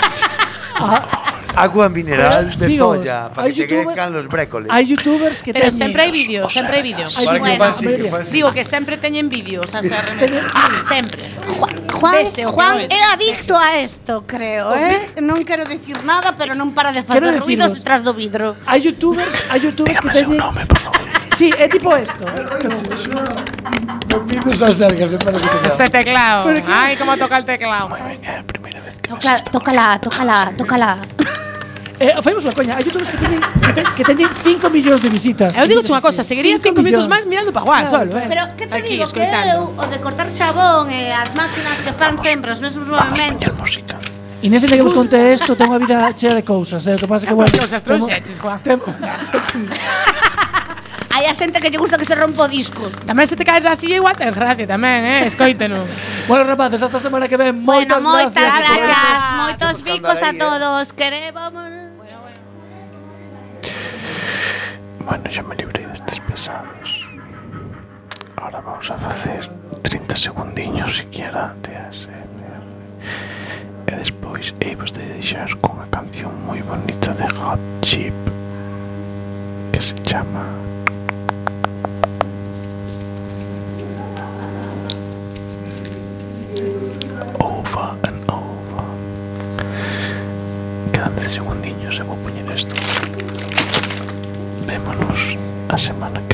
B: Agua mineral de
E: Amigos,
B: soya para
E: hay
B: que te
E: youtubers-
B: crezcan los brécoles.
E: Hai youtubers que
M: Pero
E: ten
M: sempre hai
E: micros.
M: vídeos, sempre hai vídeos.
E: Ay, Para que bueno, fancy, que María. fancy.
M: Digo que sempre teñen vídeos as RMS. sempre.
J: Juan,
M: Vese o que
J: Juan
M: non es.
J: é adicto a esto, creo,
M: Pues
J: eh? Non quero dicir nada, pero non para de
E: Quero
J: facer ruidos
E: decirvos-
J: detrás do vidro.
E: Hai youtubers, hai youtubers que teñen nome, por favor. Sí, é tipo esto. ¿eh?
B: Pido esas cercas, espera que te
M: Ese teclado. Ai, como toca el teclado.
J: Toca, tócala, tócala, tócala.
E: Eh, faimos unha coña, hai youtubers que teñen que, te, que teñen 5 millóns de visitas.
M: Eu digo unha cosa, seguiría cinco minutos máis mirando pa Juan solo, eh.
J: Pero que te
M: Aquí,
J: digo que eu
M: escoitando.
J: o de cortar xabón e as máquinas que fan sempre os mesmos movimentos.
E: Inés, que vos conté isto, ten unha vida chea de cousas, eh? o que
M: Ah,
E: pasa que, bueno...
M: Cousas trouxeches, Juan.
J: Hai a xente que lle gusta que se rompa o disco.
M: Tamén se te caes da silla igual ten gracia tamén, eh. Escoíteno.
E: Bueno, rapaces, hasta a semana que ven.
J: Bueno,
E: Moitas
J: moitas
E: gracias.
J: gracias, moitos
E: Estamos
J: bicos a
E: aí, eh.
J: todos. Queremos
S: Bueno, ya me libré de estos pesados. Ahora vamos a hacer 30 segundiños siquiera de ASMR. E despois hei vos de deixar cunha canción moi bonita de Hot Chip que se chama Over and Over. Quedan 10 segundiños e vou poñer isto. Vémonos a semana que